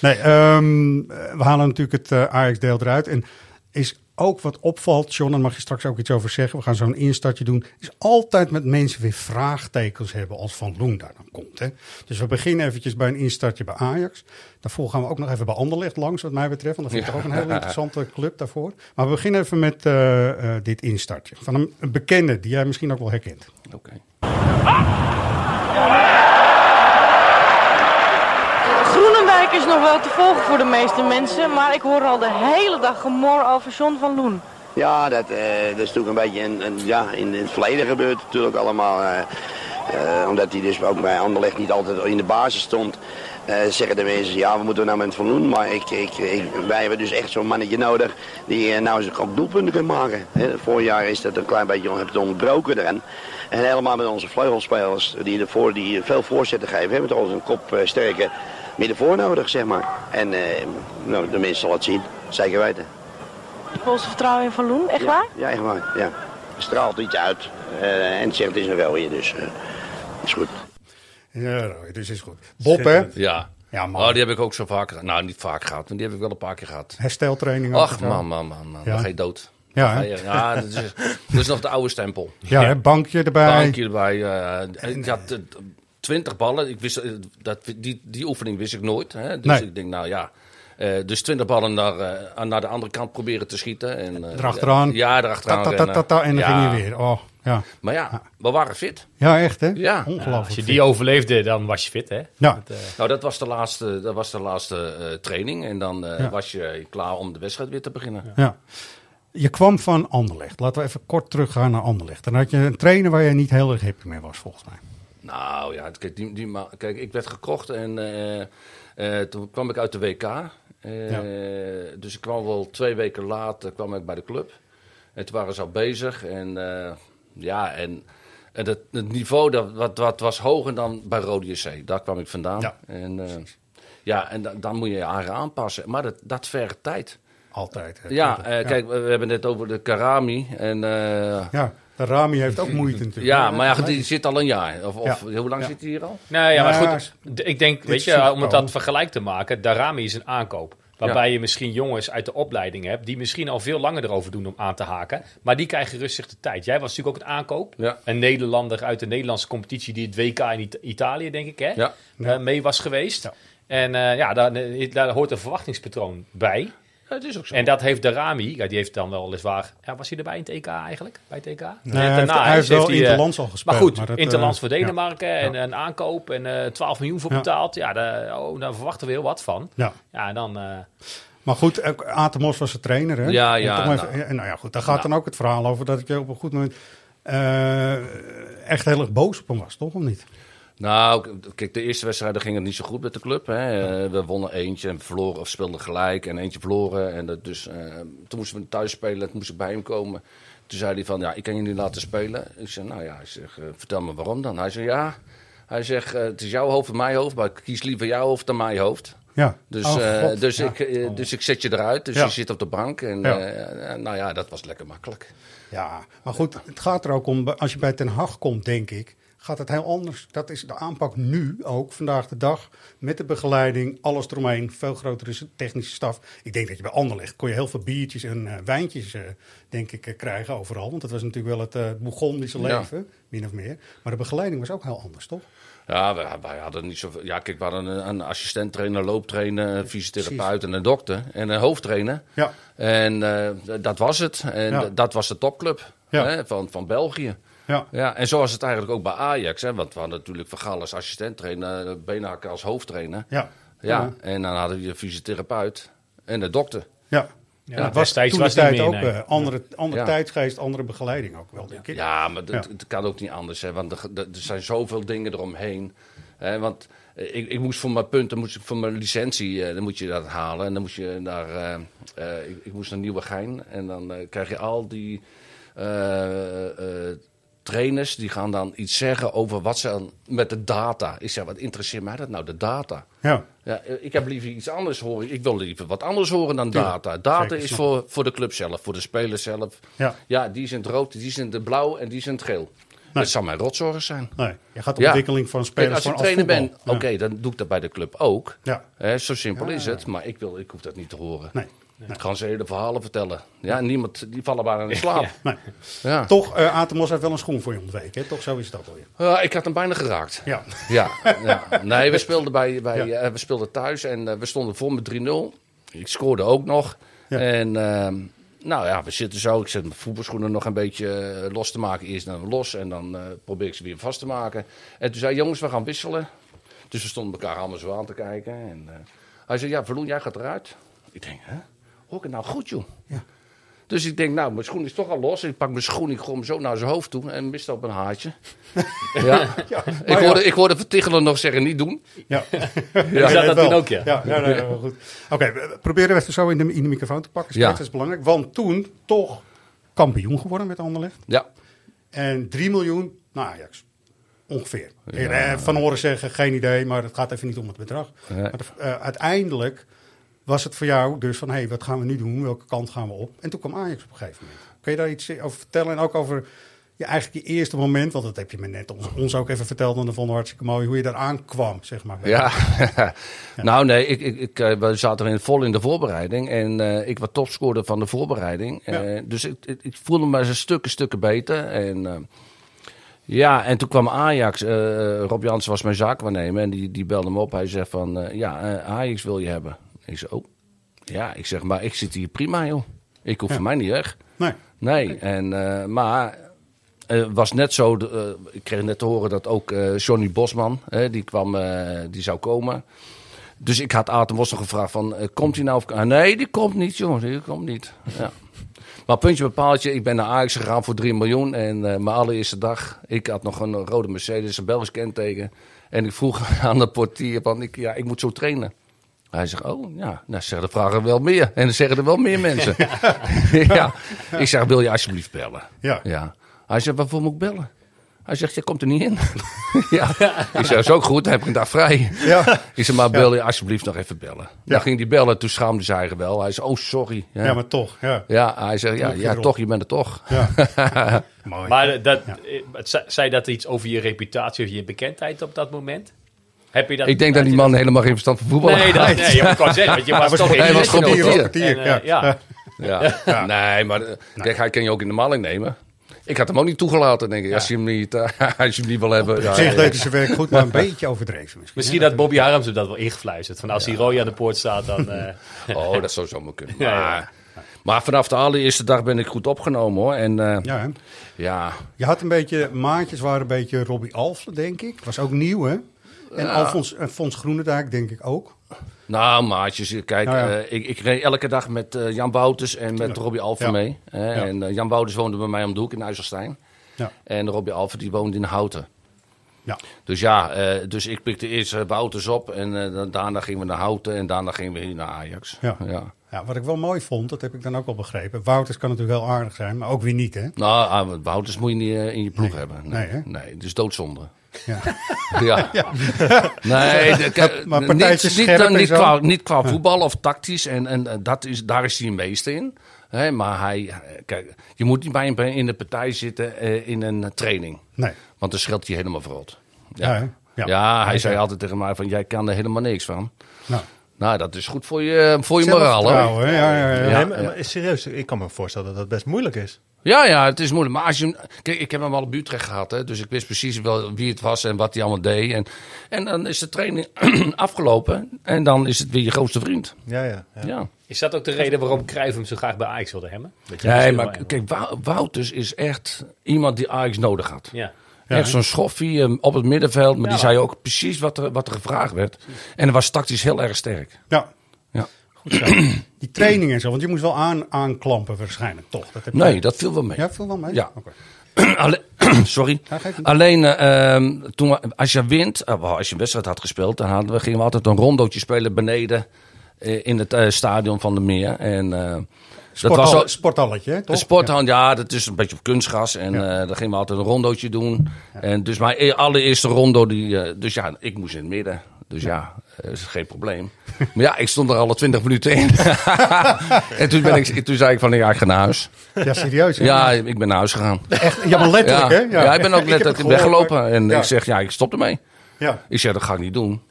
S1: nee, ehm, eh, we halen natuurlijk het eh, Ajax-deel eruit. En is ook wat opvalt, John, en mag je straks ook iets over zeggen. We gaan zo'n instartje doen. Is altijd met mensen weer vraagtekens hebben als Van Loen daar dan komt. Hè? Dus we beginnen eventjes bij een instartje bij Ajax. Daarvoor gaan we ook nog even bij Anderlecht langs, wat mij betreft. Want dat vind ik toch ook een heel interessante club daarvoor. Maar we beginnen even met uh, uh, dit instartje. Van een, een, bekende die jij misschien ook wel herkent.
S4: Oké. Okay.
S8: Groenendijk is nog wel te volgen voor de meeste mensen, maar ik hoor al de hele dag gemor over John van Loen.
S9: Ja, dat, uh, dat is natuurlijk een beetje in, in, ja, in, in het verleden gebeurd natuurlijk allemaal. Uh, uh, omdat hij dus ook bij Anderlecht niet altijd in de basis stond. eh, zeggen de mensen, ja, we moeten nou met Van Loen. Maar ik, ik, ik, wij hebben dus echt zo'n mannetje nodig die nou eens ook doelpunten kan maken. Hè. Vorig jaar is dat een klein beetje het ontbroken erin. En helemaal met onze vleugelspelers die, ervoor, die veel voorzetten geven. hebben toch een kop sterker middenvoor nodig, zeg maar. En eh, nou, de mensen zal het zien, zeker weten.
S8: Volgens vertrouwen in Van Loen, echt
S9: ja,
S8: waar?
S9: Ja, echt waar, ja. Straalt iets uit uh, en zegt het is nog wel hier, dus uh, is goed.
S1: Ja, dus is goed. Bob, hè?
S4: Ja. Ja, man. Oh, die heb ik ook zo vaak gehad. Nou, niet vaak gehad, maar die heb ik wel een paar keer gehad.
S1: Hersteltraining.
S4: Ach, man, man, man, man. Ja. Dan ga je dood.
S1: Ja,
S4: ja, ja dat, is, dat, is, nog de oude stempel.
S1: Ja, hè? bankje erbij.
S4: Bankje erbij. Uh, ja, 20 ballen. Ik wist, eh, dat, die, die oefening wist ik nooit. Hè? Dus nee. ik denk, nou ja. Uh, dus 20 ballen naar, uh, naar de andere kant proberen te schieten. En, uh,
S1: erachteraan.
S4: Ja, erachteraan.
S1: Ta, ta, ta, en dan ja. ging je weer. Oh, ja.
S4: Maar ja, we waren fit.
S1: Ja, echt hè?
S4: Ja.
S2: Ongelooflijk. Ja, als je die overleefde, dan was je fit hè?
S1: Ja. Dat,
S4: nou, dat was de laatste, dat was de laatste eh, training. En dan eh, was je klaar om de wedstrijd weer te beginnen.
S1: ja. Je kwam van Anderlecht. Laten we even kort teruggaan naar Anderlecht. Dan had je een trainer waar je niet heel erg happy mee was, volgens mij.
S4: Nou ja, kijk, die, die, kijk ik werd gekocht en uh, uh, toen kwam ik uit de WK. Uh, ja. Dus ik kwam wel twee weken later kwam ik bij de club. En toen waren ze al bezig. En eh, ja, en, en dat, het niveau dat, wat, wat was hoger dan bij Rode JC. Daar kwam ik vandaan. Ja. en, eh, ja, en dan, dan moet je je aanpassen. Maar dat, dat vergt tijd.
S1: Altijd. Hè?
S4: Ja, Altijd. kijk, we, we hebben het net over de Karami. En, eh,
S1: ja. De Rami heeft ook moeite natuurlijk.
S4: Ja, maar ja, die zit al een jaar. Of, of ja. hoe lang ja. zit hij hier al?
S2: Nou ja, maar goed. Ik denk, weet je, om het dat vergelijk te maken, Darami is een aankoop. Waarbij je misschien jongens uit de opleiding hebt die misschien al veel langer erover doen om aan te haken. Maar die krijgen rustig de tijd. Jij was natuurlijk ook een aankoop. Een Nederlander uit de Nederlandse competitie die het WK in It Italië, denk ik, hè, uh, mee was geweest. En uh, ja, daar, daar hoort een verwachtingspatroon bij.
S4: Dat is ook zo.
S2: En dat heeft de Rami, ja, die heeft dan wel weliswaar... Ja, was hij erbij in het EK eigenlijk? Bij het E EK?
S1: Nee, hij heeft, hij heeft wel heeft Interlands al gespeeld.
S2: eh, Maar goed, maar dat, Interlands voor Denemarken ja. en een aankoop en uh, 12 miljoen voor betaald. Ja, daar, oh, daar verwachten we heel wat van.
S1: Ja,
S2: ja dan... Uh,
S1: maar goed, Atemos was de trainer, hè?
S4: Ja, ja.
S1: Nou, even, nou, ja, goed, daar gaat nou. dan ook het verhaal over dat ik je op een goed moment uh, echt heel erg boos op hem was, toch? Of niet?
S4: Nou, kijk, de eerste wedstrijden ging het niet zo goed met de club. Hè. Ja. We wonnen eentje en verloren, of speelden gelijk en eentje verloren. En dat dus, uh, toen moesten we thuis spelen, toen moest ik bij hem komen. Toen zei hij van, ja, ik kan je niet laten spelen. Ik zei, nou ja, ik zeg, uh, vertel me waarom dan. Hij zei, ja, hij zegt, uh, het is jouw hoofd en mijn hoofd, maar ik kies liever jouw hoofd dan mijn hoofd.
S1: Ja.
S4: Dus, oh, dus, ja. ik, dus ik zet je eruit, dus ja. je zit op de bank. En nou ja, dat was lekker makkelijk.
S1: Ja, maar goed, het gaat er ook om, als je bij Ten Hag komt, denk ik gaat het heel anders. Dat is de aanpak nu ook, vandaag de dag. Met de begeleiding, alles eromheen, veel grotere technische staf. Ik denk dat je bij Anderlecht kon je heel veel biertjes en uh, wijntjes, uh, denk ik, uh, krijgen overal. Want dat was natuurlijk wel het uh, Bourgondische leven, ja. min of meer. Maar de begeleiding was ook heel anders, toch?
S4: Ja, wij, wij hadden niet zoveel. Ja, kijk, we hadden een, een assistent trainer, looptrainer, een fysiotherapeut en een dokter en een hoofdtrainer.
S1: Ja.
S4: En eh, dat was het. En ja. dat was de topclub
S1: ja.
S4: hè, van, van België.
S1: Ja.
S4: ja, en zo was het eigenlijk ook bij Ajax. Hè? Want we hadden natuurlijk Van Gaal als assistent-trainer, Beenhakker als hoofdtrainer.
S1: Ja.
S4: ja. En dan hadden we de fysiotherapeut en de dokter.
S1: Ja. Ja, ja. was toen was tijd meer, ook nee. uh, andere, andere ja. tijdsgeest, andere begeleiding ook wel, denk ik.
S4: Ja, maar dat, het kan ook niet anders. Hè, want er, er zijn zoveel dingen eromheen. Hè, want eh, ik, ik moest voor mijn punten, moest ik voor mijn licentie, uh, dan moet je dat halen. En dan moest je naar, uh, ik, ik, moest naar Nieuwegein. En dan eh, krijg je al die eh, trainers die gaan dan iets zeggen over wat ze met de data. Ik zeg, wat interesseert mij dat nou, de data?
S1: Ja.
S4: ja eh, ik heb liever iets anders horen. Ik wil liever wat anders horen dan data. Data Zeker. is voor, voor de club zelf, voor de speler zelf.
S1: Ja.
S4: ja, die zijn het rood, die zijn het blauw en die zijn het geel. Nee. Dat zou mijn rotzorg zijn.
S1: Nee, je gaat de ontwikkeling ja. van spelers
S4: Kijk, Als
S1: ik
S4: trainer ben, oké, okay, dan doe ik dat bij de club ook.
S1: Ja.
S4: He, zo simpel is het, maar ik, wil, ik hoef dat niet te horen.
S1: Nee.
S4: Ik kan ze hele verhalen vertellen. Ja, en niemand, die vallen bijna in slaap.
S1: Ja. Nee.
S4: Ah.
S1: Toch, eh Atemos heeft wel een schoen voor je ontweken. hè? Toch zo is het ook alweer.
S4: Ja, Eh, ik had hem bijna geraakt.
S1: Ja.
S4: Ja, ja. nee, we speelden, bij, bij,
S1: Ja.
S4: eh, we speelden thuis en eh, we stonden voor met 3-0. Ik scoorde ook nog. En ehm, nou ja, we zitten zo. Ik zet mijn voetbalschoenen nog een beetje eh, los te maken. Eerst dan los en dan eh, probeer ik ze weer vast te maken. En toen zei hij, jongens, we gaan wisselen. Dus we stonden elkaar allemaal zo aan te kijken. En, eh, hij zei, ja, Verloen, jij gaat eruit. Ik denk, hè? Hoor ik het nou goed, joh? Dus ik denk, nou, mijn schoen is toch al los. Ik pak mijn schoen, ik gooi hem zo naar zijn hoofd toe en mist op een haartje. ja.
S1: Ja, maar
S4: ik, hoorde,
S1: ja.
S4: ik hoorde Vertichelen nog zeggen, niet doen.
S1: Ja.
S4: Ja.
S1: Ik weet
S4: dat
S1: wel.
S4: doen ook, ja.
S1: ja, ja, nee, wel goed. Oké, we we proberen even zo in de, in de microfoon te pakken. Spijt,
S4: Ja.
S1: Dat is belangrijk. Want toen toch kampioen geworden met Anderlecht.
S4: Ja.
S1: En 3 miljoen naar Ajax. Ongeveer.
S4: Ja.
S1: En, eh, Van horen zeggen, geen idee, maar het gaat even niet om het bedrag.
S4: Nee.
S1: Maar eh, uiteindelijk was het voor jou dus van... hé, hey, wat gaan we nu doen? Welke kant gaan we op? En toen kwam Ajax op een gegeven moment. Kun je daar iets over vertellen? En ook over je, eigenlijk je eerste moment... want dat heb je me net ons, ons ook even verteld... en dat vonden we hartstikke mooi... hoe je daar aankwam, zeg maar.
S4: Ja. nou nee, ik, ik, ik, eh, we zaten erin vol in de voorbereiding. En eh, ik was topscorer van de voorbereiding. Eh, dus ik, ik, ik voelde me eens stukken, stukken beter. En, eh, ja, en toen kwam Ajax. eh, Rob Jansen was mijn zaakwaarnemer. En die, die belde me op. Hij zegt van, eh, ja, eh, Ajax wil je hebben. Ik zeg, oh. Ja, ik zeg, maar ik zit hier prima, joh. Ik hoef van mij niet weg.
S1: Nee.
S4: Nee, en, eh, maar eh, was net zo. de- eh, ik kreeg net te horen dat ook eh, Johnny Bosman, hè, die kwam, eh, die zou komen. Dus ik had Aten Bosman gevraagd van, eh, komt hij nou? Of, Ah, nee, die komt niet, jongens, die komt niet. Ja. Maar puntje bepaaltje, ik ben naar Ajax gegaan voor 3 miljoen. En eh, mijn allereerste dag, ik had nog een rode Mercedes, een Belgisch kenteken. En ik vroeg aan de portier, van, ik, ja, ik moet zo trainen. Hij zegt, oh ja, nou zeggen de vragen wel meer. En dan zeggen er wel meer mensen. ja. Ik zeg, wil je alsjeblieft bellen?
S1: Ja.
S4: ja. Hij zegt, waarvoor moet ik bellen? Hij zegt, je komt er niet in. ja. Ik zeg, is ook goed, dan heb ik een dag vrij.
S1: Ja.
S4: Ik zeg, maar bel je alsjeblieft nog even bellen. Dan ging hij bellen, toen schaamde ze eigenlijk wel. Hij zei, oh sorry.
S1: Ja, maar toch. Ja.
S4: Ja, hij zegt, ja,
S1: Druk je
S4: ja
S1: erop.
S4: toch, je bent er toch.
S1: Mooi.
S2: Maar dat, eh, het ze- zei dat iets over je reputatie of je bekendheid op dat moment? Heb je dat,
S4: ik denk dat die man helemaal geen verstand van voetbal
S2: Nee, dat- nee, je moet gewoon zeggen, want je was toch
S4: Hij
S2: geen
S4: was gewoon
S2: portier. En,
S4: portier.
S2: eh, ja. ja.
S4: Ja.
S2: Ja.
S4: Nee, maar eh, kijk, hij kan je ook in de maling nemen. Ik had hem ook niet toegelaten, denk ik. Als je hem niet, eh, als je hem niet wil hebben.
S1: Op zich deed hij zijn werk goed, maar een beetje overdreven misschien.
S2: Misschien dat Bobby Harms hem dat wel ingefluisterd. Van als die Roy aan de poort staat, dan... eh,
S4: Oh, dat zou zomaar kunnen. Maar,
S2: Ja, ja.
S4: maar vanaf de allereerste dag ben ik goed opgenomen, hoor. En, eh,
S1: Ja, hè?
S4: ja,
S1: Je had een beetje, maatjes waren een beetje Robbie Alfle, denk ik. Was ook nieuw, hè? En
S4: Ja.
S1: Alfons, en Fons Groenendijk, denk ik ook.
S4: Nou, maatjes, kijk,
S1: Nou ja.
S4: eh, ik, ik reed elke dag met eh, Jan Wouters en met Robbie Alver
S1: Ja.
S4: mee. hè.
S1: Ja.
S4: En eh, Jan Wouters woonde bij mij om de hoek in IJsselstein.
S1: Ja.
S4: En Robbie Alver die woonde in Houten.
S1: Ja.
S4: Dus ja, eh, dus ik pikte eerst eh, Wouters op en eh, dan- daarna gingen we naar Houten en daarna gingen we hier naar Ajax.
S1: Ja.
S4: ja.
S1: Ja, wat ik wel mooi vond, dat heb ik dan ook al begrepen. Wouters kan natuurlijk heel aardig zijn, maar ook weer niet, hè?
S4: Nou, ah, Wouters moet je niet eh, in je ploeg hebben.
S1: Nee, hè?
S4: nee, dus doodzonde.
S1: Ja.
S4: Ja.
S1: Ja.
S4: Nee, de-
S1: Maar- maar partijtjes
S4: niet, niet,
S1: scherp
S4: eh,
S1: en
S4: niet,
S1: zo.
S4: qua, niet qua voetbal of tactisch. En, en eh, dat is, daar is hij een meester in. Hè, maar hij, kijk, je moet niet bij hem in de partij zitten eh, in een training.
S1: Nee.
S4: Want dan scheelt hij helemaal verrot.
S1: Ja, hè?
S4: Ja,
S1: Ja.
S4: hij
S1: Ja,
S4: zei
S1: ja.
S4: altijd tegen mij van, jij kan er helemaal niks van.
S1: Nou.
S4: Nou, dat is goed voor je, voor je moraal. hè?
S1: Zelfvertrouwen, hè? Ja, ja, ja.
S4: Ja,
S5: Nee, maar-
S4: ja.
S5: maar serieus, ik kan me voorstellen dat dat best moeilijk is.
S4: Ja, ja, het is moeilijk. Maar als je, hem- kijk, ik heb hem al op Utrecht gehad, hè, dus ik wist precies wel wie het was en wat hij allemaal deed. En, en dan is de training afgelopen en dan is het weer je grootste vriend.
S5: Ja, ja. ja.
S4: Ja.
S2: Is dat ook de reden waarom Cruijff hem zo graag bij Ajax wilde hebben? Dat je
S4: Nee,
S2: misschien
S4: maar
S2: wel-
S4: k- kijk, Wou- Wouters is echt iemand die Ajax nodig had.
S2: Ja.
S4: Echt zo'n schoffie eh, op het middenveld, maar
S2: Ja,
S4: die
S2: maar-
S4: zei ook precies wat er, wat er gevraagd werd. En dat was tactisch heel erg sterk.
S1: Ja.
S4: Ja.
S1: Goed zo. Die training en zo, want je moest wel aan, aanklampen waarschijnlijk, toch? Dat heb je-
S4: Nee, dat viel wel mee.
S1: Ja, viel wel mee?
S4: Ja.
S1: Oké.
S4: Alle- Sorry.
S1: Ja, geeft niet.
S4: Alleen eh, ehm, toen, we- als je wint, eh, wel, als je een wedstrijd had gespeeld, dan hadden we, gingen we altijd een rondootje spelen beneden eh, in het eh, stadion van de Meer. En, eh,
S1: Sporthal-
S4: ook-
S1: sporthalletje, hè, toch?
S4: Een sporthal, ja. dat is een beetje op kunstgas. En eh dan gingen we altijd een rondootje doen. En dus mijn e- allereerste rondo, die, eh, dus ja, ik moest in het midden. Dus ja, eh, is geen probleem. maar ja, ik stond er alle twintig minuten in. en toen, ben ik, toen zei ik van, ja, ik ga naar huis.
S1: Ja, serieus, hè?
S4: Dus- Ja, ik ben naar huis gegaan.
S1: Echt, ja, maar letterlijk,
S4: ja.
S1: hè?
S4: Ja. ik
S1: heb
S4: ben ook
S1: het
S4: letterlijk
S1: gehoord,
S4: weggelopen.
S1: maar-
S4: En
S1: Ja.
S4: ik zeg, ja, ik stop ermee.
S1: Ja.
S4: Ik zeg, dat ga ik niet doen.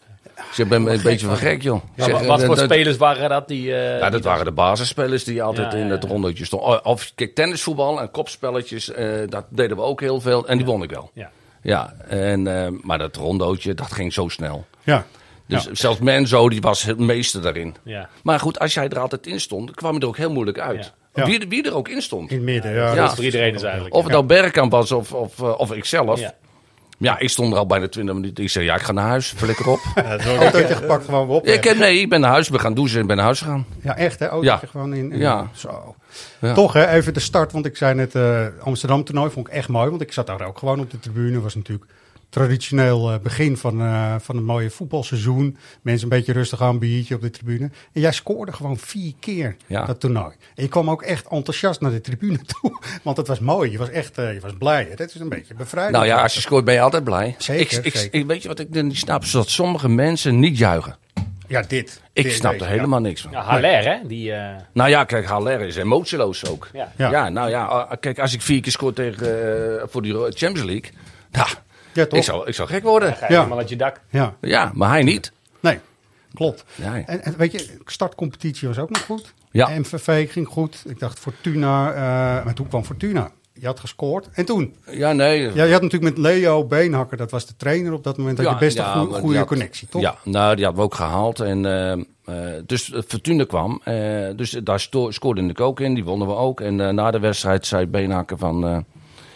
S4: Dus ik ben een beetje van gek, joh. Ik
S2: Ja,
S4: zeg,
S2: wa- wat
S4: eh,
S2: voor
S4: dat-
S2: spelers waren dat die... eh,
S4: ja,
S2: die
S4: dat waren de basisspelers die altijd
S2: Ja,
S4: in het rondetje stonden. Oh, Of kijk, tennisvoetbal en kopspelletjes, eh, dat deden we ook heel veel. En die won ik wel.
S2: Ja.
S4: Ja, en, eh, maar dat rondootje, dat ging zo snel.
S1: Ja.
S4: Dus
S1: Ja.
S4: zelfs Menzo, die was het meeste daarin.
S2: Ja.
S4: Maar goed, als jij er altijd in stond, kwam je er ook heel moeilijk uit.
S1: Ja.
S4: Wie, wie er ook in stond.
S1: In het midden, ja.
S2: Dat is voor iedereen is eigenlijk.
S4: Of het
S2: ja.
S4: nou Bergkamp was of, of, eh, of ikzelf.
S2: Ja.
S4: Ja. ik stond er al bijna 20 minuten. Ik zei, ja, ik ga naar huis. Flikker op.
S1: Autootje gepakt, gewoon weer op.
S4: ik heb, nee, ik ben naar huis. We gaan douchen en ben naar huis gegaan.
S1: Ja, echt hè? Autootje
S4: Ja.
S1: gewoon in. in-
S4: Ja.
S1: Zo.
S4: Ja.
S1: Toch hè, even de start, want ik zei net eh Amsterdam toernooi vond ik echt mooi, want ik zat daar ook gewoon op de tribune. Was natuurlijk traditioneel eh, begin van, eh, van een mooie voetbalseizoen. Mensen een beetje rustig aan, biertje op de tribune. En jij scoorde gewoon vier keer
S4: Ja.
S1: dat toernooi. En je kwam ook echt enthousiast naar de tribune toe, want het was mooi. Je was echt, eh, je was blij. hè. Dat is een beetje bevrijdend.
S4: Nou ja, als je scoort ben je altijd blij.
S1: Zeker,
S4: ik, ik,
S1: zeker.
S4: ik- weet je wat ik niet snap? Is dat sommige mensen niet juichen.
S1: Ja, dit.
S4: Ik
S1: Dit-
S4: snap
S1: deze,
S4: er
S1: ja.
S4: helemaal niks van.
S2: Ja, Haller, hè? Die, eh,
S4: Nou ja, kijk, Haller is emotieloos ook.
S2: Ja.
S4: Ja,
S1: Ja.
S4: nou ja, ah, kijk, als ik vier keer scoor tegen, eh, voor die Champions League... Nou,
S1: Ja, toch?
S4: ik, zou, ik zou gek worden.
S2: ga je
S1: Ja.
S2: helemaal uit je dak.
S1: Ja,
S4: Ja, maar hij niet.
S1: nee, klopt.
S4: Nee.
S1: En, en weet je, startcompetitie was ook nog goed.
S4: Ja.
S1: MVV ging goed. Ik dacht Fortuna, eh, maar toen kwam Fortuna. Je had gescoord. En toen?
S4: Ja, nee.
S1: Ja, je had natuurlijk met Leo Beenhakker, dat was de trainer op dat moment, dat je best een goe-
S4: maar die
S1: goede
S4: had-
S1: connectie, toch?
S4: Ja, nou, die hadden we ook gehaald. En, ehm, eh, dus eh, Fortuna kwam. eh, dus daar sto- scoorde ik ook in. Die wonnen we ook. En eh, na de wedstrijd zei Beenhakker van... eh,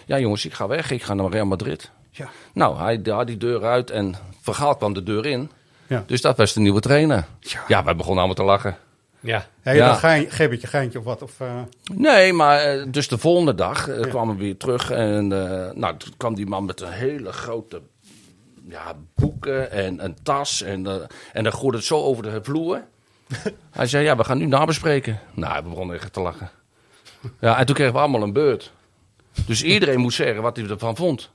S4: ja, jongens, ik ga weg. Ik ga naar Real Madrid.
S1: Ja.
S4: Nou, hij had die deur uit en Vergaal kwam de deur in.
S1: Ja.
S4: Dus dat was de nieuwe trainer.
S1: Ja.
S4: Ja, wij begonnen allemaal te lachen.
S2: Ja.
S1: Ja, je
S4: Ja.
S1: had een gein- gebbetje, geintje of wat? Of, eh,
S4: Nee, maar eh, dus de volgende dag eh, kwamen we weer terug. En eh, nou, toen kwam die man met een hele grote ja, boeken en een tas. En, eh, en dan gooide het zo over de vloer. Hij zei, ja, we gaan nu nabespreken. Nou, we begonnen echt te lachen. Ja, en toen kregen we allemaal een beurt. Dus iedereen moest zeggen wat hij ervan vond.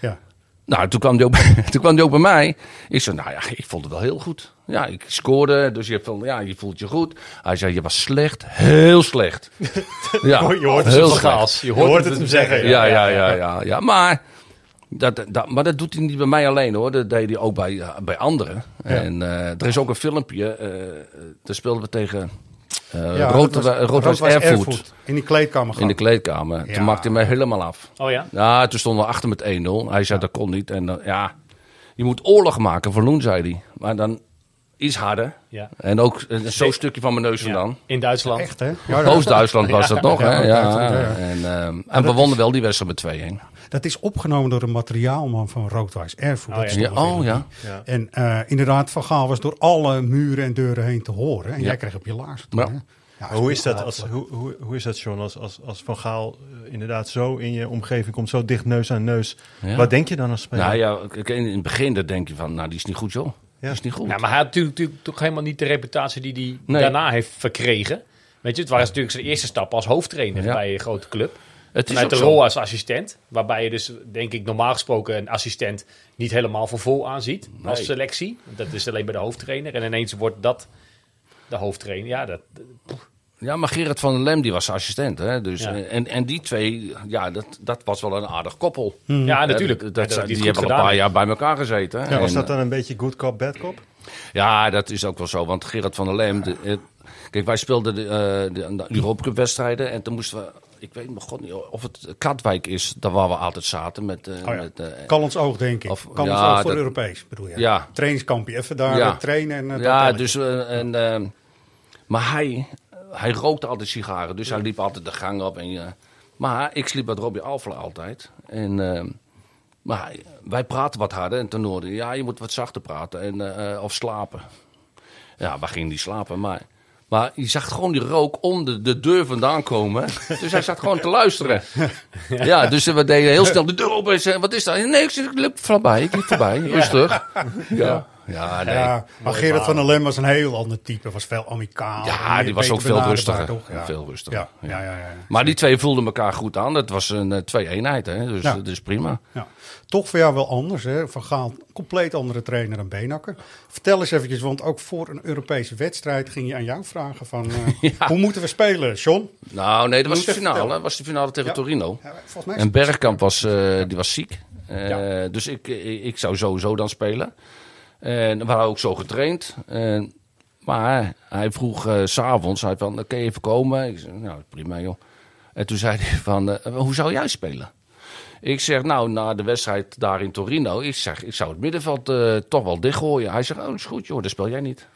S1: ja.
S4: Nou, toen kwam, die ook, toen kwam die ook bij mij. Ik zei, nou ja, ik vond het wel heel goed. Ja, ik scoorde, dus je, voelt- ja, je voelt je goed. Hij zei, je was slecht, heel slecht. ja,
S1: Je hoort
S2: het
S4: heel
S2: van
S4: slecht.
S2: Gaals. Je hoort, het, hem zeggen.
S4: Ja, ja, ja, ja, ja. Maar, dat, dat, maar dat doet hij niet bij mij alleen hoor. Dat deed hij ook bij, ja, bij anderen. En eh, er is ook een filmpje. eh, eh, daar speelden we tegen eh
S1: Ja,
S4: Rood,
S1: dat
S4: Rood,
S1: was-
S4: Roodwijs
S1: Roodwijs
S4: Erfurt.
S1: In die kleedkamer gaan.
S4: In de kleedkamer.
S1: Ja.
S4: Toen maakte hij mij helemaal af.
S2: Oh ja?
S4: Ja, Nou, toen stonden we achter met 1-0. Hij zei dat kon niet. En dan, ja, je moet oorlog maken voor Loen, zei hij. Maar dan iets harder.
S2: Ja.
S4: En ook eh, zo'n stukje van mijn neus
S2: Ja.
S4: vandaan.
S2: In Duitsland.
S1: Echt, hè? Ja, dat-
S4: Oost-Duitsland was dat nog, hè?
S1: Ja,
S4: Ja,
S1: Duitsland, ja.
S4: En, ehm, en we wonnen wel die wedstrijd met 2-1.
S1: Dat is opgenomen door een materiaalman van Roodwijs Erfurt.
S2: Oh,
S1: Dat
S2: ja.
S1: is
S4: Ja,
S1: toch wel
S4: oh
S1: weer-
S4: ja.
S5: Ja.
S1: En eh, inderdaad, Van Gaal was door alle muren en deuren heen te horen. En
S4: Ja.
S1: jij kreeg op je laars toen,
S4: Ja.
S1: hè?
S5: Maar hoe is dat, als, hoe, hoe, hoe is dat John, als, als, als Van Gaal eh, inderdaad zo in je omgeving komt, zo dicht neus aan neus?
S4: Ja.
S5: Wat denk je dan als speler?
S4: Nou ja, kijk, in in het begin dan denk je van, nou die is niet goed joh. Die is niet goed.
S2: Nou, maar hij had natuurlijk, natuurlijk toch helemaal niet de reputatie die hij
S4: Nee.
S2: daarna heeft verkregen. Weet je, het was natuurlijk zijn eerste stap als hoofdtrainer
S4: Ja.
S2: bij een grote club.
S4: het is
S2: Vanuit
S4: ook
S2: de
S4: zo.
S2: rol als assistent. Waarbij je dus, denk ik, normaal gesproken een assistent niet helemaal voor vol aanziet als
S4: Nee.
S2: selectie. Dat is alleen bij de hoofdtrainer. En ineens wordt dat de hoofdtrainer. Ja, dat,
S4: Dus Ja, maar Gerard van der Lem die was assistent. Hè? Dus,
S2: Ja.
S4: eh, en, en die twee, ja, dat, dat was wel een aardig koppel.
S2: ja
S4: Hè,
S2: natuurlijk.
S4: Dat,
S2: Ja,
S4: zijn-
S2: die
S4: die
S2: het goed
S4: hebben al een
S2: gedaan
S4: paar
S2: heeft.
S4: jaar bij elkaar gezeten. hè.
S5: Ja, was
S2: eh,
S4: En, eh,
S5: dat dan een beetje good cop, bad cop?
S4: Ja, dat is ook wel zo. Want Gerard van der Leem... de- eh, kijk, wij speelden de, eh, de, de Europa Cup wedstrijden. En toen moesten we... Ik weet nog god niet of het Katwijk is. Daar waar we altijd zaten. Met, eh,
S1: Oh ja.
S4: met, eh,
S1: Kan ons oog, denk ik.
S4: Of-
S1: kan ons
S4: ja,
S1: oog voor
S4: dat-
S1: Europees, bedoel je?
S4: Ja.
S1: Trainingskampje, even daar
S4: Ja.
S1: eh, trainen. En, eh, dat
S4: ja,
S1: allemaal.
S4: dus... eh, en, eh, maar hij, hij rookte altijd sigaren. Dus hij liep altijd de gang op. En, eh, maar ik sliep met Robbie Alfla altijd. En... eh, maar hij- wij praten wat harder en toen hoorde hij, ja, je moet wat zachter praten en, eh, eh, of slapen. Ja, waar ging die slapen? Maar, maar je zag gewoon die rook om de, de deur vandaan komen. Dus hij zat gewoon te luisteren. Ja, dus we deden heel snel de deur op en zeiden, wat is dat? Nee, ik zeg, ik liep voorbij, ik liep voorbij, rustig. Ja, ja nee.
S1: Ja, maar Gerard van der Lem was een heel ander type. Was veel amicaal.
S4: Ja,
S1: meer
S4: die was ook
S1: beter
S4: veel
S1: benaderbaar,
S4: rustiger.
S1: toch? Ja.
S4: Veel rustiger.
S1: Ja, ja, ja. ja.
S4: Maar die twee voelden elkaar goed aan. Dat was een eh, twee-eenheid, hè? Dus,
S1: Ja.
S4: dat is prima.
S1: Ja. Toch voor jou wel anders, hè? Van Gaal, compleet andere trainer dan Beenakker. Vertel eens eventjes, want ook voor een Europese wedstrijd ging je aan jou vragen van... eh, Hoe moeten we spelen, John?
S4: Nou, nee, dat was
S1: Moet
S4: de
S1: je
S4: finale.
S1: vertellen.
S4: Dat was de finale tegen
S1: Ja.
S4: Torino.
S1: Ja, volgens mij is
S4: en
S1: het-
S4: Bergkamp was, eh, die was ziek. Eh, Dus ik, ik, ik zou sowieso dan spelen. En we waren ook zo getraind. En, maar hij vroeg eh, s s'avonds, hij van, kun je even komen? Ik zei, nou, prima joh. En toen zei hij van, eh, hoe zou jij spelen? Ik zeg, nou, na de wedstrijd daar in Torino, ik zeg, ik zou het middenveld eh, toch wel dichtgooien. Hij zegt, oh, dat is goed joh, dat speel jij niet.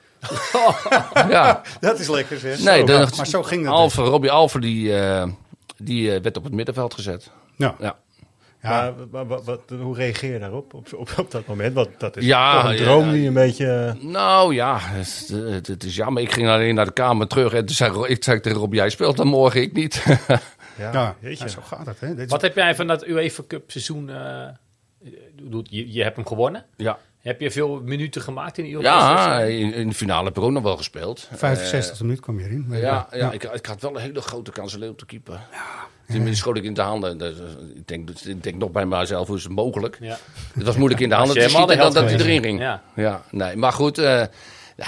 S4: ja.
S1: Dat is lekker zeg.
S4: Nee,
S1: Zo,
S4: dan,
S1: maar zo ging dus. dat.
S4: Alver, Robbie Alver, die, eh, die eh, werd op het middenveld gezet.
S1: Ja.
S4: ja.
S5: Maar wa- wa- wat, hoe reageer je daarop op, op, op dat moment? Want dat is
S4: Ja,
S5: toch een droom
S4: ja.
S5: die een beetje... eh,
S4: Nou ja, het, het- het is jammer. Ik ging alleen naar de kamer terug en toen zei Ro- ik zei tegen Rob, jij speelt dan morgen, ik niet.
S1: Ja,
S4: jeetje.
S1: nou, zo gaat het. Hè? Dit is-
S2: Wat heb jij van dat UEFA Cup seizoen... eh, bedoel, je, je hebt hem gewonnen.
S4: Ja.
S2: Heb je veel minuten gemaakt in ieder
S4: ja, in, in de finale heb ik ook nog wel gespeeld.
S1: 65 e
S4: Eh,
S1: minuut kwam je erin.
S4: ja, ja ik, ik had wel een hele grote kans alleen op de keeper. Tenminste, schoot ik in de handen. Dat is- eh, Ik denk, dat- ik denk nog bij mezelf, hoe is het mogelijk?
S2: Ja.
S4: Het was moeilijk in de handen
S2: Als
S4: te
S2: je hem
S4: schieten dan
S2: had,
S4: dat hij
S2: had je
S4: erin ging.
S2: gezien.
S4: Ja. nee. Maar goed, eh,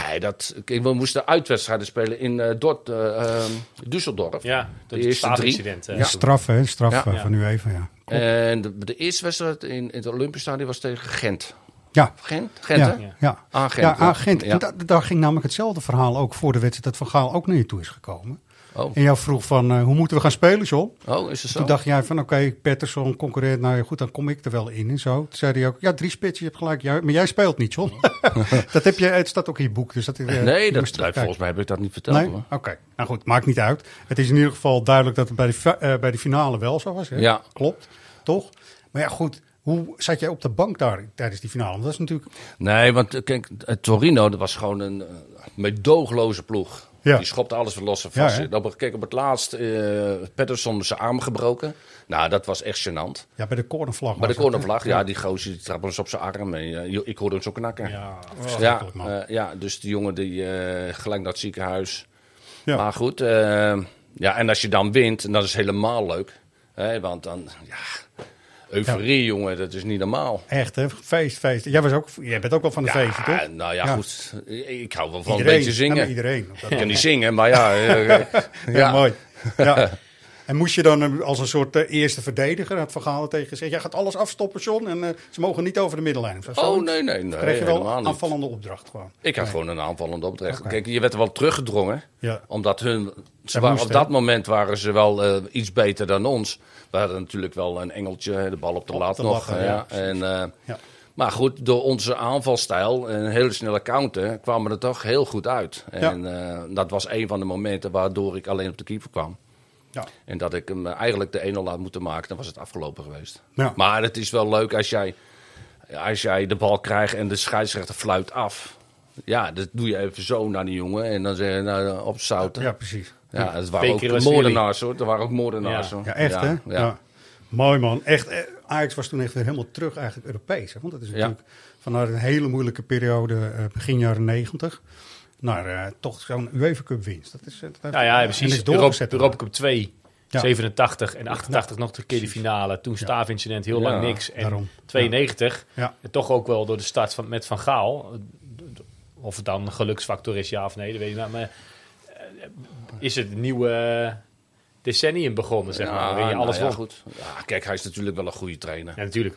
S4: nee, dat, kijk, we moesten uitwedstrijden spelen in eh Dort, eh, ehm, Düsseldorf.
S2: Ja, dat
S4: de eerste drie.
S2: staatincident, eh,
S1: Ja, straf, hè? Straf eh, van u even, ja.
S4: En de, de eerste wedstrijd in, het Olympisch Stadion was tegen Gent.
S1: Ja.
S4: Gent? Gent,
S1: ja,
S4: hè?
S1: ja.
S4: Aan Gent.
S1: Ja, aan Gent.
S4: Ja.
S1: En da- daar ging namelijk hetzelfde verhaal ook voor de wedstrijd dat Van Gaal ook naar je toe is gekomen.
S4: Oh.
S1: En jou vroeg van, eh, hoe moeten we gaan spelen, John?
S4: Oh, is het zo?
S1: Toen dacht jij van, oké, Patterson, concurrent, nou ja, goed, dan kom ik er wel in en zo. Toen zei hij ook, ja, drie spitsen, je hebt gelijk, jij, maar jij speelt niet, John. dat heb je, het staat ook in je boek, dus dat... eh, je
S4: nee,
S1: moest
S4: dat, nee,
S1: terugkijken.
S4: volgens mij heb ik dat niet verteld.
S1: Nee?
S4: hoor.
S1: Oké, nou goed, maakt niet uit. Het is in ieder geval duidelijk dat het bij de, fi- eh, bij de finale wel zo was. Hè?
S4: Ja.
S1: Klopt, toch? Maar ja, goed, hoe zat jij op de bank daar tijdens die finale? Want dat is natuurlijk...
S4: Nee, want eh, kijk, eh, Torino dat was gewoon een eh, meedogenloze ploeg.
S1: Ja.
S4: Die schopte alles van los en
S1: Ja,
S4: vast.
S1: hè?
S4: Dan, kijk, op het laatst, eh Patterson zijn arm gebroken. Nou, dat was echt gênant.
S1: Ja, bij de cornervlag.
S4: Maar de
S1: was dat, hè?
S4: cornervlag, ja, die gozer die trapte ons op zijn arm. En, eh, joh, ik hoorde hem zo knakken.
S1: Ja, Oh,
S4: ja,
S1: verschrikkelijk, man.
S4: eh, ja, dus die jongen die eh, gelijk naar het ziekenhuis.
S1: Ja.
S4: Maar goed, eh, ja, en als je dan wint, en dat is helemaal leuk. Hè, want dan, ja, euforie, jongen, dat is niet normaal.
S1: Echt, hè? Feest, feest. Jij, was ook, jij bent ook wel van de feesten, toch?
S4: Nou ja, goed. Ik hou wel van
S1: Iedereen.
S4: een beetje zingen.
S1: Ja, maar iedereen. Op dat
S4: Ik kan niet
S1: moment.
S4: zingen, maar ja. eh, ja.
S1: Heel mooi. Ja. En moest je dan eh, als een soort eh, eerste verdediger het verhaal tegen gezegd... jij gaat alles afstoppen, John, en eh, ze mogen niet over de middenlijn. Of zo,
S4: Oh,
S1: zoiets?
S4: nee, nee, nee,
S1: Dan kreeg je wel
S4: helemaal niet.
S1: aanvallende opdracht gewoon.
S4: Ik had gewoon een aanvallende opdracht. Kijk, je werd er wel teruggedrongen.
S1: Ja.
S4: Omdat hun... Ze
S1: Zij
S4: waren, op
S1: moesten,
S4: dat
S1: hè?
S4: moment waren ze wel eh, iets beter dan ons. We hadden natuurlijk wel een engeltje, de bal op de lat
S1: de
S4: nog.
S1: lat,
S4: eh,
S1: ja,
S4: ja. En, eh, Maar goed, door onze aanvalstijl en een hele snelle counter kwamen we er toch heel goed uit. En eh, dat was een van de momenten waardoor ik alleen op de keeper kwam.
S1: Ja.
S4: En dat ik hem eh, eigenlijk de 1-0 had moeten maken, dan was het afgelopen geweest.
S1: Ja.
S4: Maar het is wel leuk als jij, als jij de bal krijgt en de scheidsrechter fluit af. Ja, dat doe je even zo naar die jongen en dan zeg je nou, eh, opzouten.
S1: Ja, precies.
S4: Ja,
S1: Beker
S4: het waren ook
S1: was
S4: moordenaars hoor. Er waren ook moordenaars
S1: Ja,
S4: hoor.
S1: ja echt, hè? Ja.
S4: Ja.
S1: Mooi, man. Echt, eh, Ajax was toen echt weer helemaal terug eigenlijk Europees. Hè? Want dat is
S4: Ja.
S1: natuurlijk vanuit een hele moeilijke periode, eh, begin jaren negentig... naar eh, toch zo'n UEFA Cup winst. Dat is, eh, dat heeft-
S2: Nou ja,
S1: en
S2: precies.
S1: is
S2: Europa,
S1: doorgezet.
S2: Europa Cup 2,
S1: Ja.
S2: 87 en 88 nog een keer de finale. Toen staafincident, heel lang
S1: Ja,
S2: niks. En
S1: daarom.
S2: 92,
S1: Ja.
S2: en toch ook wel door de start van, met Van Gaal. Of het dan een geluksfactor is, ja of nee, dat weet ik niet. Maar eh, is het nieuwe decennium begonnen, zeg maar. waarin je alles
S4: nou ja,
S2: won.
S4: goed. Ja, kijk, hij is natuurlijk wel een goede trainer.
S2: Ja, natuurlijk.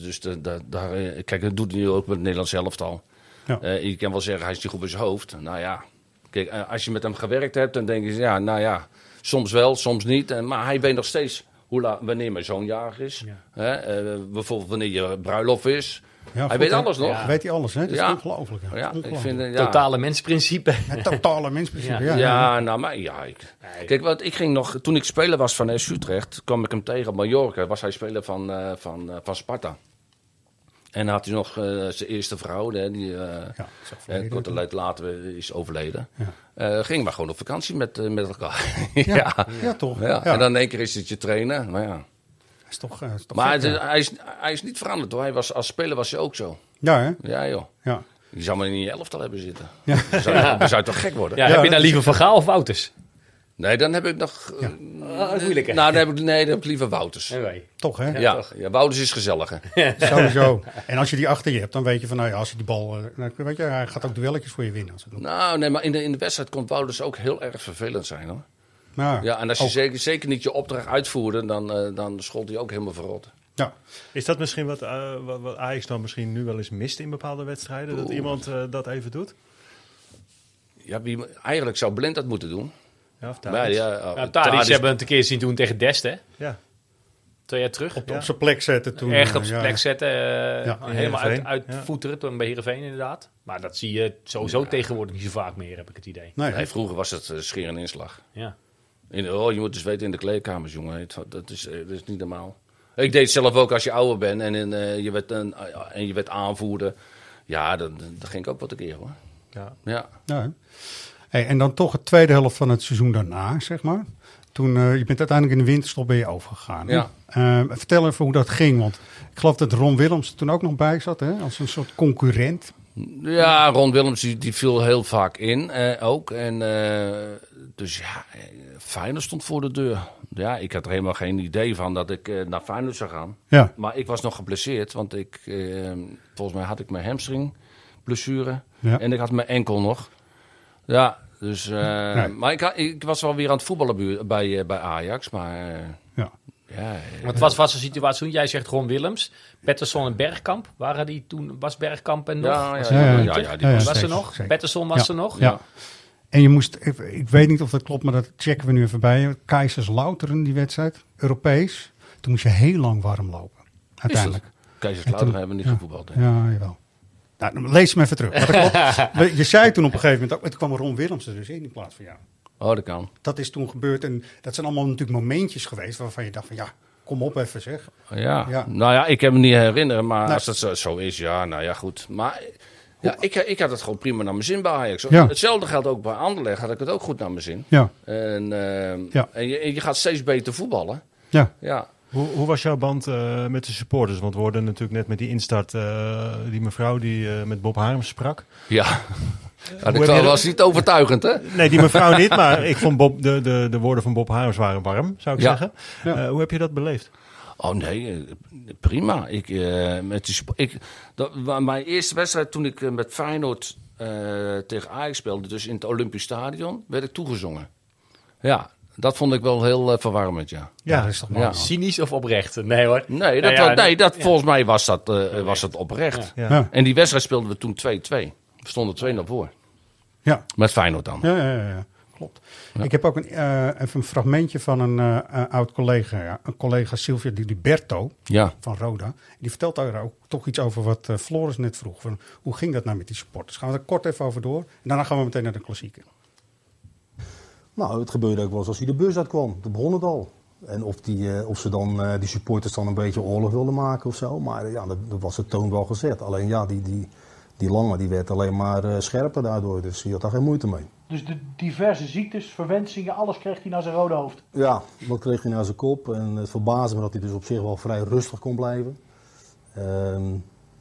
S4: dus de, de- daar, eh, kijk, dat doet hij ook met het Nederlands elftal.
S1: Ja.
S4: Eh, je kan wel zeggen, hij is niet goed bij zijn hoofd. Nou ja, kijk, eh, als je met hem gewerkt hebt, dan denk je, ja, nou ja, soms wel, soms niet. En, maar hij weet nog steeds hoe la- wanneer mijn zoon jarig is. Hè, eh, bijvoorbeeld wanneer je bruiloft is.
S1: Ja,
S4: hij
S1: goed,
S4: weet
S1: hè?
S4: alles nog.
S1: Ja. Weet hij alles, hè? Dat is ongelooflijk, hè?
S4: Ja, ik
S1: Ongelooflijk.
S4: vind, eh, ja.
S2: Totale mensprincipe.
S1: Het totale mensprincipe, ja.
S4: Ja, nou, maar ja. Ik, Kijk, want ik ging nog, toen ik speler was van SC Utrecht, kwam ik hem tegen op Mallorca. Was hij speler van, eh, van, eh, van Sparta. En had hij nog eh, zijn eerste vrouw, hè, die eh, eh,
S1: verleden
S4: korte
S1: toen.
S4: tijd later is overleden. Eh, ging maar gewoon op vakantie met, eh, met elkaar. ja.
S1: ja, toch.
S4: Ja.
S1: Ja.
S4: En dan in één keer is het je trainer. Maar, ja.
S1: Is toch, eh, is toch
S4: maar
S1: gek,
S4: het
S1: ja.
S4: is- hij, is, hij is niet veranderd hoor. Hij was, als speler was hij ook zo.
S1: Ja, hè?
S4: Ja joh.
S1: Ja.
S4: Je zou maar in je elftal hebben zitten.
S1: Ja.
S4: Dan zou, je- dan zou je toch gek worden.
S2: Ja, heb je dan liever Van Gaal of Wouters?
S4: Nee, dan heb ik nog... eh,
S2: Oh, dat is moeilijk, hè?
S4: Nou, dan heb ik, nee, dan heb ik liever Wouters.
S1: Toch, hè?
S4: Ja, ja, Wouters is gezelliger.
S1: Sowieso. En als je die achter je hebt, dan weet je van, nou ja, als je die bal... eh, nou, weet je, hij gaat ook duelletjes voor je winnen. Als het moet.
S4: Nou, nee, maar in de, in de wedstrijd kon Wouters ook heel erg vervelend zijn, hoor.
S1: Ja. oh,
S2: Oh.
S4: Ja, en als je zeker, zeker niet je opdracht uitvoerde, dan, eh, dan schold hij ook helemaal verrot.
S1: Ja.
S5: Is dat misschien wat, eh, wat, wat Ajax dan misschien nu wel eens mist in bepaalde wedstrijden? Dat
S4: Oeh.
S5: iemand eh, dat even doet?
S4: Ja, wie, eigenlijk zou Blind dat moeten doen.
S5: Ja, of
S4: Maar
S5: Tadic.
S4: ja,
S5: Ja,
S4: eh,
S2: Nou, Tadic
S4: Tadic-
S2: hebben we het een keer zien doen tegen Dest, hè?
S5: Ja.
S2: Twee jaar terug. Op,
S1: op zijn plek zetten toen,
S2: Echt op
S1: eh,
S2: zijn
S1: ja.
S2: plek zetten. eh,
S1: Ja, in
S2: helemaal uit,
S1: Heerenveen.
S2: uit
S1: Ja.
S2: voeteren toen bij Heerenveen inderdaad. Maar dat zie je sowieso tegenwoordig niet zo vaak meer, heb ik het idee.
S4: Nee. vroeger was het eh, scheer en inslag.
S2: Ja.
S4: In, oh, je moet dus weten in de kleedkamers, jongen. Het- dat, is, eh, dat is niet normaal. Ik deed het zelf ook als je ouder bent en, in, eh, je, werd een, en je werd aanvoerder. Ja, dan, dan ging ik ook wat een keer, hoor.
S5: Ja.
S4: ja.
S1: Ja, hè. Hey, en dan toch het tweede helft van het seizoen daarna, zeg maar. Toen, eh, je bent uiteindelijk in de winterstop ben je overgegaan. hè?
S4: Ja.
S1: Eh, vertel even hoe dat ging, want ik geloof dat Ron Willems er toen ook nog bij zat, hè? als een soort concurrent.
S4: Ja, Ron Willems die, die viel heel vaak in eh, ook. En, eh, dus ja, eh, Feyenoord stond voor de deur. Ja, ik had er helemaal geen idee van dat ik eh, naar Feyenoord zou gaan.
S1: Ja.
S4: Maar ik was nog geblesseerd, want ik, eh, volgens mij had ik mijn hamstring blessure.
S1: Ja.
S4: En ik had mijn enkel nog. Ja, dus... eh,
S1: Nee.
S4: Maar ik, ha- ik was wel weer aan het voetballen bu- bij, eh, bij Ajax, maar... eh,
S1: Ja.
S4: ja
S2: Wat was, was de situatie toen? Jij zegt gewoon Willems. Pettersson en Bergkamp. Waren die toen, was Bergkamp en nog?
S4: Ja, ja,
S2: was
S4: ja,
S2: er nog
S4: ja,
S2: eentje?
S4: ja, ja, die was-
S2: was er
S4: zeker,
S2: nog?
S4: zeker.
S2: Pettersson was
S1: Ja,
S2: er nog?
S1: Ja. En je moest, ik, ik weet niet of dat klopt, maar dat checken we nu even bij. Keizerslauteren, die wedstrijd, Europees. Toen moest je heel lang warm lopen, uiteindelijk.
S4: Keizerslauteren
S1: En toen-
S4: hebben we niet
S1: ja.
S4: gevoetbald, hè?
S1: Ja, jawel. Nou, dan lees hem even terug. Maar dat klopt. je zei toen op een gegeven moment ook, het kwam Ron Willems er dus in in plaats van jou.
S4: Oh, dat kan.
S1: Dat is toen gebeurd en dat zijn allemaal natuurlijk momentjes geweest waarvan je dacht van ja, kom op even zeg.
S4: Ja.
S1: Ja.
S4: nou ja, ik heb me niet herinneren, maar
S1: Nee.
S4: als dat zo, zo is, ja, nou ja, goed. Maar ja, ik, ik had het gewoon prima naar mijn zin bij Ajax. hoor.
S1: Ja.
S4: Hetzelfde geldt ook bij Anderlecht, had ik het ook goed naar mijn zin.
S1: Ja.
S4: En, ehm,
S1: Ja.
S4: en, je, en je gaat steeds beter voetballen.
S1: Ja.
S4: Ja.
S5: Hoe, hoe was jouw band eh, met de supporters? Want we hoorden natuurlijk net met die instart eh, die mevrouw die eh, met Bob Harms sprak.
S4: Ja.
S5: Hoe
S4: ja
S5: heb
S4: dat
S5: je dat-
S4: was niet overtuigend, hè?
S5: Nee, die mevrouw niet, maar ik vond Bob, de, de, de woorden van Bob Harms waren warm, zou ik
S4: Ja.
S5: zeggen. Eh, hoe heb je dat beleefd?
S4: Oh nee, eh, prima. Ik, eh, met die, sp- ik, dat, wa- mijn eerste wedstrijd toen ik eh, met Feyenoord eh, tegen Ajax speelde, dus in het Olympisch Stadion, werd ik toegezongen. Ja, dat vond ik wel heel eh, verwarmend, ja.
S1: Ja, dat is toch mooi, man.
S2: Cynisch of oprecht? Nee hoor.
S4: Nee, dat,
S2: Nou ja,
S4: wa- nee, dat,
S2: ja.
S4: volgens mij was dat, eh, was dat oprecht.
S1: Ja. Ja.
S4: En die wedstrijd speelden we toen 2-2. We stonden 2-0 voor.
S1: Ja.
S4: Met Feyenoord dan.
S1: Ja, ja, ja, ja. klopt. Ik heb ook een, eh, even een fragmentje van een eh, eh, oud collega, ja, een collega Silvia Di Liberto
S4: Ja.
S1: van Roda. Die vertelt daar ook toch iets over wat eh, Floris net vroeg. Van, hoe ging dat nou met die supporters? Gaan we er kort even over door en daarna gaan we meteen naar de klassieker.
S10: Nou, het gebeurde ook wel eens als hij de bus uitkwam. Toen begon het al. En of, die, eh, of ze dan, eh, die supporters dan een beetje oorlog wilden maken of zo. Maar eh, ja, dat, dat was de toon wel gezet. Alleen ja, die, die, die lange die werd alleen maar eh, scherper daardoor. Dus je had daar geen moeite mee.
S11: Dus de diverse ziektes, verwensingen, alles kreeg hij naar zijn rode hoofd.
S10: Ja, dat kreeg hij naar zijn kop. En het verbaasde me dat hij dus op zich wel vrij rustig kon blijven. Ehm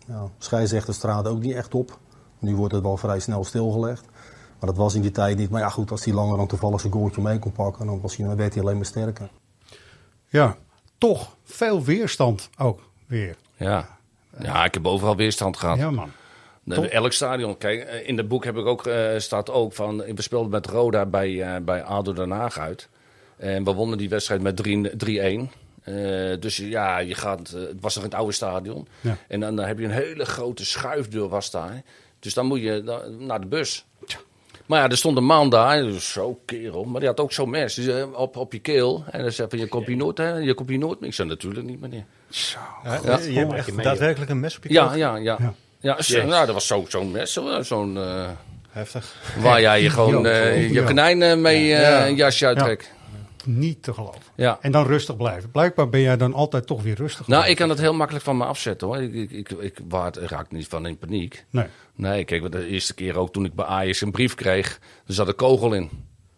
S10: ja, scheidsrechters traden ook niet echt op. Nu wordt het wel vrij snel stilgelegd. Maar dat was in die tijd niet. Maar ja, goed, als hij langer dan toevallig zijn goaltje mee kon pakken, dan, was hij, dan werd hij alleen maar sterker.
S1: Ja, toch veel weerstand ook weer.
S4: Ja. ja, ik heb overal weerstand gehad.
S1: Ja, man.
S4: Nee,
S1: Top.
S4: elk stadion. Kijk, eh, in het boek heb ik ook, eh, staat ook van... We speelden met Roda bij, eh, bij ADO Den Haag uit. En we wonnen die wedstrijd met 3 3-1. Eh, dus ja, je gaat, eh, het was nog in het oude stadion.
S1: Ja.
S4: En dan eh, heb je een hele grote schuifdeur was daar. Dus dan moet je da- naar de bus. Maar ja, er stond een man daar, dus zo kerel. Maar die had ook zo'n mes dus, eh, op, op je keel. En dan zei van, je komt hier nooit, hè? Je komt hier nooit meer. Ik zei, natuurlijk niet, meneer. Zo.
S5: Ja, je hebt echt daadwerkelijk een mes op je
S4: Ja,
S5: keel?
S4: ja, ja.
S5: Ja.
S4: ja. zo-
S5: Jezus.
S4: nou, dat was zo- zo'n mes, zo- zo'n... eh,
S5: Heftig.
S4: Waar jij je gewoon
S1: Ja,
S4: eh, je
S1: ja.
S4: konijn eh, mee eh,
S1: Ja.
S4: een jasje
S1: Ja.
S4: uittrekt.
S1: Niet te geloven.
S4: Ja.
S1: En dan rustig blijven. Blijkbaar ben jij dan altijd toch weer rustig.
S4: Nou, ik kan het heel makkelijk van me afzetten hoor. Ik, ik, ik, ik waar- raak niet van in paniek.
S1: Nee.
S4: Nee, kijk, de eerste keer ook toen ik bij Ajax een brief kreeg, er zat een kogel in.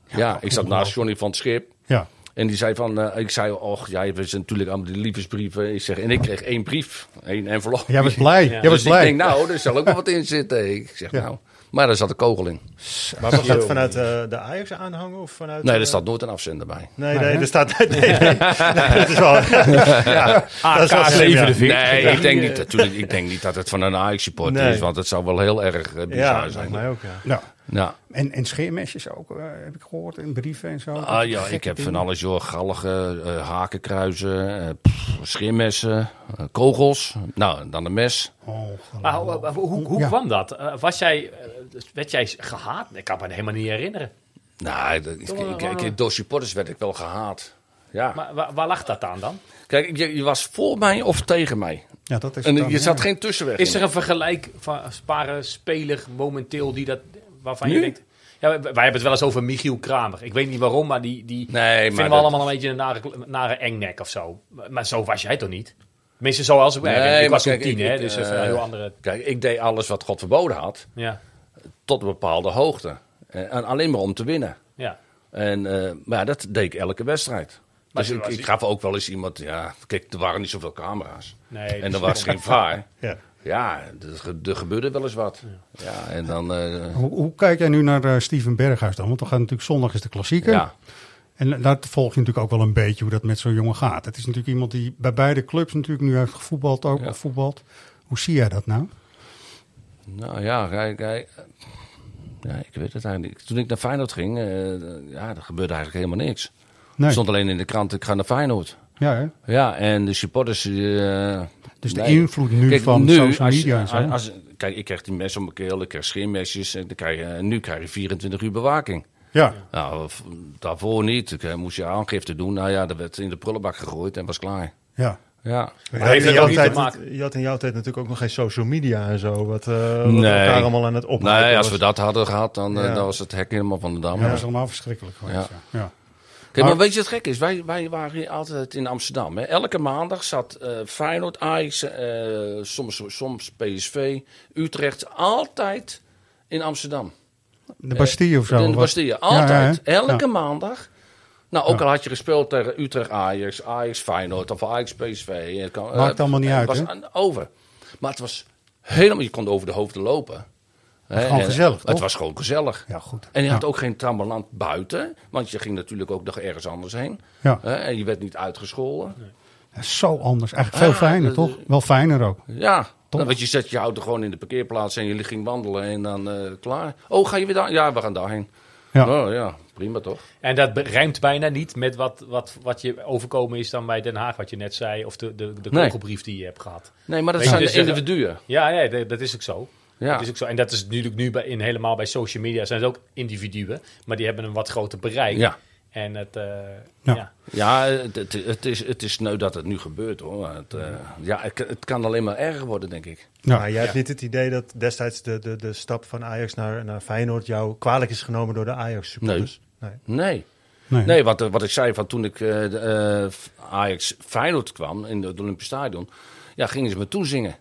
S4: Ja, ik zat naast Johnny van het Schip.
S1: Ja.
S4: En die zei van, eh, ik zei, och, jij hebt natuurlijk allemaal die liefdesbrieven. Ik zeg, en ik kreeg één brief, één envelop.
S1: Jij was blij, jij
S4: Dus
S1: was blij.
S4: ik denk, nou, er zal ook wel wat in zitten. Ik zeg,
S1: Ja.
S4: nou, maar er zat een kogel in.
S5: Maar was dat vanuit eh, de Ajax aanhangen of vanuit...
S4: Nee,
S5: eh,
S4: er staat nooit een afzender bij.
S5: Nee, nee, er staat... Nee, nee, nee, dat is wel... ja, dat is wel slim, ja.
S4: Nee, ik denk, niet, natuurlijk, ik denk niet dat het van een Ajax-supporter
S5: Nee.
S4: is, want het zou wel heel erg eh, bizar
S5: Ja,
S4: zijn.
S5: lijkt mij ook, ja.
S1: Ja.
S4: Ja.
S1: En, en scheermesjes ook, eh, heb ik gehoord, in brieven en zo. Dat
S4: Ah
S1: is
S4: ja,
S1: gekke
S4: ik heb van
S1: dingen.
S4: alles, joh. Galgen, eh, hakenkruizen, eh, pff, scheermessen, eh, kogels. Nou, dan een mes.
S2: Maar hoe, hoe- hoe, hoe
S4: Ja.
S2: kwam dat? Eh, was jij, eh, werd jij gehaat? Ik kan me helemaal niet herinneren.
S4: Nou, dat- ik, ik, ik, ik- door supporters werd ik wel gehaat. Ja.
S2: Maar waar, waar lag dat aan dan?
S4: Kijk, je, je was voor mij of tegen mij.
S1: Ja, dat is
S4: en
S1: het dan,
S4: je zat
S1: ja.
S4: geen tussenweg
S2: Is
S4: in.
S2: er een vergelijkbare speler momenteel die dat, waarvan je
S4: Nu?
S2: denkt... Ja, wij wij hebben het wel eens over Michiel Kramer. Ik weet niet waarom, maar die, die vinden
S4: maar
S2: we
S4: dat-
S2: allemaal een beetje een nare, nare engnek of zo. Maar, maar zo was jij toch niet? Tenminste, zoals ik ben. ik
S4: maar
S2: was toen
S4: kijk,
S2: tien,
S4: ik-
S2: hè?
S4: ik,
S2: Dus
S4: eh,
S2: even een heel andere...
S4: Kijk, ik deed alles wat God verboden had,
S2: Ja,
S4: tot een bepaalde hoogte. Eh, En, en alleen maar om te winnen.
S2: ja.
S4: En, eh, maar ja, dat deed ik elke wedstrijd.
S2: Maar
S4: dus
S2: toen
S4: ik,
S2: was
S4: ik
S2: die-
S4: gaf ook wel eens iemand... Ja, kijk, er waren niet zoveel camera's.
S2: Nee,
S4: en
S2: dus-
S4: er was geen vaar.
S5: Ja.
S4: Ja, er, ge- er gebeurde wel eens wat. Ja, en dan... eh,
S1: Hoe, hoe kijk jij nu naar eh, Steven Berghuis dan? Want dan gaat natuurlijk zondag is de klassieker.
S4: Ja.
S1: En daar volg je natuurlijk ook wel een beetje hoe dat met zo'n jongen gaat. Het is natuurlijk iemand die bij beide clubs natuurlijk nu heeft gevoetbald, ook
S4: Ja.
S1: voetbald. Hoe zie jij dat nou?
S4: Nou ja, kijk, hij- ja, ik weet het eigenlijk niet. Toen ik naar Feyenoord ging, eh, ja, er gebeurde eigenlijk helemaal niks.
S1: Nee.
S4: Er stond alleen in de krant, ik ga naar Feyenoord.
S1: Ja, hè?
S4: Ja, en de supporters... eh,
S1: Dus de invloed nu van social
S4: als je-
S1: media en zo.
S4: als- kijk, ik krijg die mes om mijn keel, ik krijg scheermesjes. En, dan krijg je, en nu krijg je 24 uur bewaking.
S1: Ja.
S4: Nou, v- daarvoor niet. Ik, eh, moest je aangifte doen. Nou ja, dat werd in de prullenbak gegooid en was klaar.
S1: Ja.
S4: Ja.
S5: Maar in jouw tijd- je had in jouw tijd natuurlijk ook nog geen social media en zo. Wat, eh wat elkaar allemaal aan het opnemen.
S4: Nee, als we dat hadden gehad, dan, eh,
S5: Ja.
S4: dan was het hek helemaal van de dam.
S1: Ja, dat is allemaal verschrikkelijk geweest, ja. Ja.
S4: Kijk, maar
S1: Maar-
S4: weet je wat gek is? Wij, wij waren hier altijd in Amsterdam. Hè. Elke maandag zat eh Feyenoord, Ajax, eh, soms, soms PSV, Utrecht, altijd in Amsterdam.
S1: De Bastille of zo,
S4: Eh, In
S1: wat?
S4: de Bastille,
S1: Ja, ja,
S4: altijd.
S1: hè?
S4: Elke
S1: Ja.
S4: maandag. Nou, ook al had je gespeeld tegen Utrecht, Ajax, Ajax, Feyenoord of Ajax, PSV. eh, kan-
S1: Maakt
S4: eh,
S1: allemaal niet
S4: het
S1: uit,
S4: was
S1: hè?
S4: aan- over. Maar het was helemaal, je kon over de hoofden lopen. Hè,
S1: Gewoon
S4: en
S1: gezellig,
S4: Het
S1: toch?
S4: was gewoon gezellig.
S1: Ja, goed.
S4: En je had
S1: Ja.
S4: ook geen trammeland buiten, want je ging natuurlijk ook nog ergens anders heen.
S1: Ja.
S4: Hè, en je werd niet uitgescholden.
S1: Ja, Zo anders. Eigenlijk veel
S4: Ah,
S1: fijner, toch? Wel fijner ook.
S4: Ja, nou,
S1: Toch?
S4: want je zet je auto gewoon in de parkeerplaats en je ging wandelen en dan eh, klaar. Oh, ga je weer daar? Ja, we gaan daarheen.
S1: Ja.
S4: Oh, ja, prima toch?
S2: En dat be- rijmt bijna niet met wat, wat, wat je overkomen is dan bij Den Haag, wat je net zei. Of de, de, de
S4: Nee.
S2: kogelbrief die je hebt gehad.
S4: Nee, maar dat
S2: Weet je,
S4: zijn de
S2: dus, eh,
S4: individuen.
S2: Ja, ja dat, dat is ook zo.
S4: Ja.
S2: Dat is ook zo. En dat is natuurlijk nu bij, in, helemaal bij social media zijn het ook individuen. Maar die hebben een wat groter bereik.
S4: Ja.
S2: En het... eh,
S1: ja.
S4: Ja, het, het, het is, het is sneu dat het nu gebeurt hoor. Het, eh, ja, het, het kan alleen maar erger worden, denk ik.
S1: Nou
S5: Maar jij hebt
S4: Ja.
S5: niet het idee dat destijds de, de, de stap van Ajax naar, naar Feyenoord jou kwalijk is genomen door de Ajax-supporters?
S4: Nee. Nee.
S1: Nee,
S4: wat, eh, wat ik zei van toen ik eh, de, eh, Ajax Feyenoord kwam in het Olympisch Stadion, ja, gingen ze me toezingen.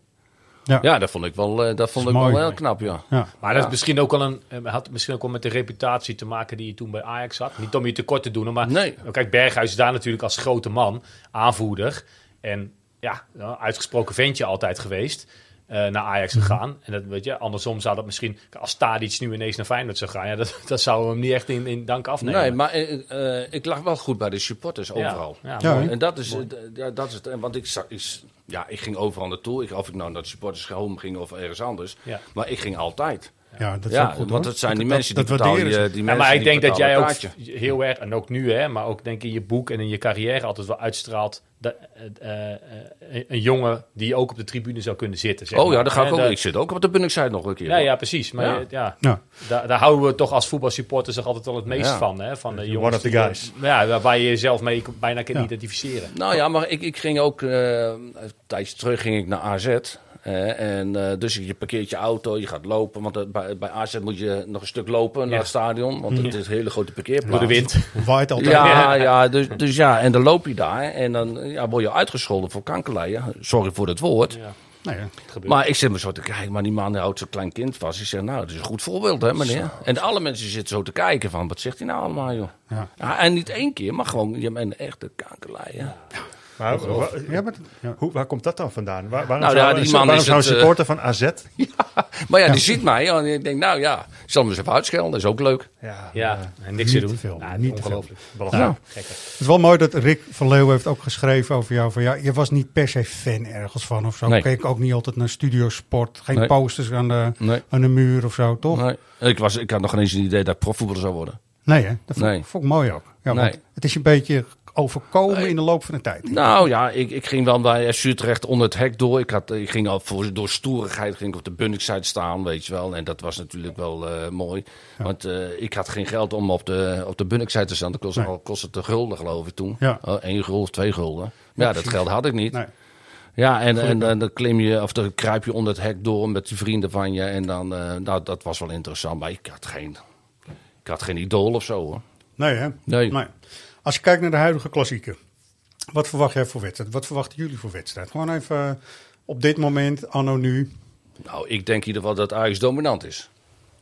S1: Ja.
S4: Ja, dat vond ik wel, eh, dat vond
S1: Dat
S4: ik
S1: is
S4: wel
S1: mooi.
S4: heel knap, ja.
S1: Ja.
S2: Maar dat is
S4: Ja.
S2: misschien ook al een, eh, had misschien ook wel met de reputatie te maken die je toen bij Ajax had. Niet om je tekort te doen, hoor, maar Nou, kijk, Berghuis is daar natuurlijk als grote man, aanvoerder. En ja, nou, uitgesproken ventje altijd geweest. eh, naar Ajax gegaan. En dat weet je, andersom zou dat misschien, als Tadic nu ineens naar Feyenoord zou gaan, ja, dat, dat zou hem niet echt in, in dank afnemen.
S4: Nee, maar eh, eh, ik lag wel goed bij de supporters
S2: Ja.
S4: overal.
S2: Ja, Ja, mooi. hè?
S4: en dat is, eh, d- ja, dat is het. En Want ik, za- ik, s- ja, ik ging overal naartoe. Ik, of ik nou naar de supporters home ging of ergens anders.
S2: Ja.
S4: Maar ik ging altijd.
S1: Ja, dat is ook goed, hoor.
S4: Want dat zijn die
S1: Dat-
S4: mensen
S1: dat
S4: die betalen
S1: waarderen ze.
S4: je-
S2: Ja,
S4: die mensen
S2: maar ik
S4: die
S2: denk dat
S4: betalen
S2: jij ook
S4: kaartje.
S2: v- heel erg, en ook nu, hè, maar ook denk in je boek en in je carrière altijd wel uitstraalt. Dat, eh, eh, eh, een jongen die ook op de tribune zou kunnen zitten. Zeg
S4: Oh ja,
S2: maar.
S4: daar ga ik
S2: Hè,
S4: ook. Ik zit ook op de Bunningside nog een keer.
S2: Ja, ja, precies. Maar
S4: Ja.
S2: je- ja.
S1: Ja.
S2: Daar, daar houden we toch als voetbalsupporters toch altijd wel het meest
S4: Ja.
S2: van. Hè? van de
S4: One
S2: jongens
S4: of the
S2: die- eh,
S4: guys.
S2: ja, waar- waar je jezelf mee k- bijna kan identificeren.
S4: Nou ja, maar ik, ik ging ook, eh, een tijdje terug ging ik naar AZ. eh, en eh, dus je parkeert je auto, je gaat lopen. Want eh, bij, bij AZ moet je nog een stuk lopen naar het stadion. Want het
S2: Ja.
S4: is een hele grote parkeerplaats.
S2: Mm. Door de wind.
S1: Waait altijd.
S4: Ja, ja dus, dus ja, en dan loop je daar en dan ja, word je uitgescholden voor kankerlijen. Sorry voor het woord.
S1: Nee, ja.
S4: Maar ik zit me zo te kijken, maar die man die houdt zo'n klein kind vast. Ik zeg, nou, dat is een goed voorbeeld, hè, meneer.
S1: Zo.
S4: En alle mensen zitten zo te kijken van, wat zegt hij nou allemaal, joh?
S1: Ja.
S4: Ja, en niet één keer, maar gewoon, je bent een echte kankerlijen.
S5: Maar,
S4: Ongelooflijk.
S5: wa- hoe, waar komt dat dan vandaan? Waar, waarom
S4: Nou
S5: zou,
S4: ja, die
S5: zo-
S4: man
S5: waarom
S4: is
S5: zou een
S4: het, eh,
S5: supporter van AZ
S4: maar ja, die ziet mij en ik denk, nou ja, ik zal me eens even uitschelden. Dat is ook leuk.
S2: Ja, en niks te doen.
S1: Veel,
S2: Nou,
S1: niet te
S2: ongelooflijk.
S1: veel.
S2: Nou,
S1: Nou, het is wel mooi dat Rick van Leeuwen heeft ook geschreven over jou. Van, ja, je was niet per se fan ergens van of zo.
S4: Nee.
S1: Keek ook niet altijd naar studiosport. Geen
S4: Nee.
S1: posters aan de,
S4: Nee.
S1: aan de muur of zo, toch? Nee,
S4: Nee. Ik, was, ik had nog geen eens een idee dat ik profvoetballer zou worden.
S1: hè? dat vond,
S4: Nee.
S1: vond ik mooi ook. Ja, want
S4: Nee.
S1: het is je een beetje overkomen in de loop van de tijd.
S4: Nou ja, ik, ik ging wel bij FC Utrecht onder het hek door. Ik, had, ik ging al voor, door stoerigheid ging ik op de Bunningside staan, weet je wel. En dat was natuurlijk wel eh, mooi. Want eh, ik had geen geld om op de, op de Bunningside te staan. Dat kostte
S1: Nee.
S4: al kostte te gulden, geloof ik, toen.
S1: Ja.
S4: Oh, één gulden of twee gulden.
S1: Ja,
S4: Maar ja, dat
S1: precies.
S4: geld had ik niet.
S1: Nee.
S4: Ja, en, en,
S1: Gelukkig.
S4: dan- dan klim je, of dan kruip je onder het hek door met die vrienden van je. En dan, eh, nou, dat was wel interessant. Maar ik had geen, ik had geen idool of zo, hoor.
S1: Nee, hè?
S4: Nee.
S1: Als je kijkt naar de huidige klassieker. Wat verwacht jij voor wedstrijd? Wat verwachten jullie voor wedstrijd? Gewoon even eh, op dit moment, anno nu.
S4: Nou, ik denk in ieder geval dat Ajax dominant is.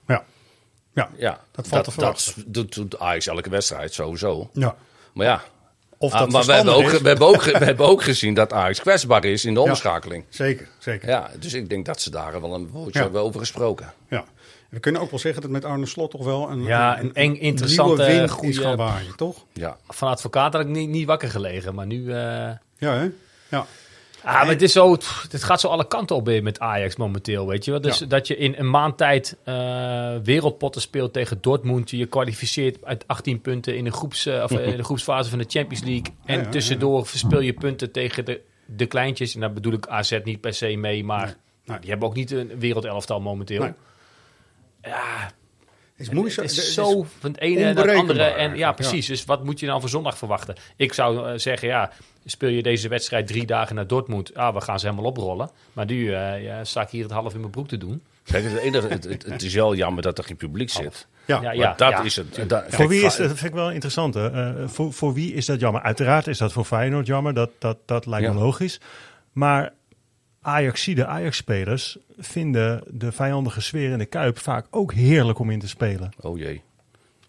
S1: Ja. Ja,
S4: ja
S1: dat valt te
S4: dat
S1: verwachten.
S4: doet, doet Ajax elke wedstrijd, sowieso.
S1: Ja.
S4: Maar ja.
S1: Of
S4: Ah,
S1: dat
S4: maar we hebben, ook,
S1: verstandig is.
S4: we, hebben ook, ge- we hebben ook gezien dat Ajax kwetsbaar is in de
S1: Ja.
S4: omschakeling.
S1: Zeker, zeker.
S4: Ja, dus ik denk dat ze daar wel een woordje
S1: Ja.
S4: hebben over gesproken.
S1: Ja. We kunnen ook wel zeggen dat met Arne Slot toch wel een,
S2: Ja, een eng, interessante,
S1: nieuwe wind
S2: goede-
S1: is gaan waaien, toch?
S4: Ja.
S2: Van advocaat had ik niet, niet wakker gelegen, maar nu... eh,
S1: Ja, hè? Ja.
S2: Ah, maar het, is zo, pff, het gaat zo alle kanten op weer met Ajax momenteel, weet je wel. Dus
S1: Ja.
S2: dat je in een maand tijd eh, wereldpotten speelt tegen Dortmund. Je je kwalificeert uit 18 punten in de, groeps, eh, of, eh, in de groepsfase van de Champions League. En
S1: Ja, ja,
S2: tussendoor verspeel je punten tegen de, de kleintjes. En daar bedoel ik AZ niet per se mee, maar nou, die hebben ook niet een wereldelftal momenteel.
S1: Nee.
S2: Ja,
S1: is moeilijk.
S2: Het
S1: Het
S2: is
S1: is
S2: zo van het ene naar het
S1: onberekenbaar
S2: andere. En ja,
S1: eigenlijk, ja.
S2: precies. Dus wat moet je nou voor zondag verwachten? Ik zou eh, zeggen, ja, speel je deze wedstrijd drie dagen naar Dortmund. Ah, we gaan ze helemaal oprollen. Maar nu eh, ja, sta ik hier het half in mijn broek te doen.
S4: Kijk, het, enige, het, het, het is wel jammer dat er geen publiek zit.
S2: Ja.
S4: Want
S2: Ja, ja,
S4: dat
S2: ja.
S4: is het.
S2: Tuurlijk.
S4: dat-
S5: voor
S4: kijk,
S5: wie is
S4: va-
S5: dat? Vind ik wel interessant. Hè? Eh, voor, voor wie is dat jammer? Uiteraard is dat voor Feyenoord jammer. Dat, dat, dat lijkt me
S4: Ja.
S5: logisch. Maar Ajaxide Ajax-spelers vinden de vijandige sfeer in de kuip vaak ook heerlijk om in te spelen.
S4: Oh jee.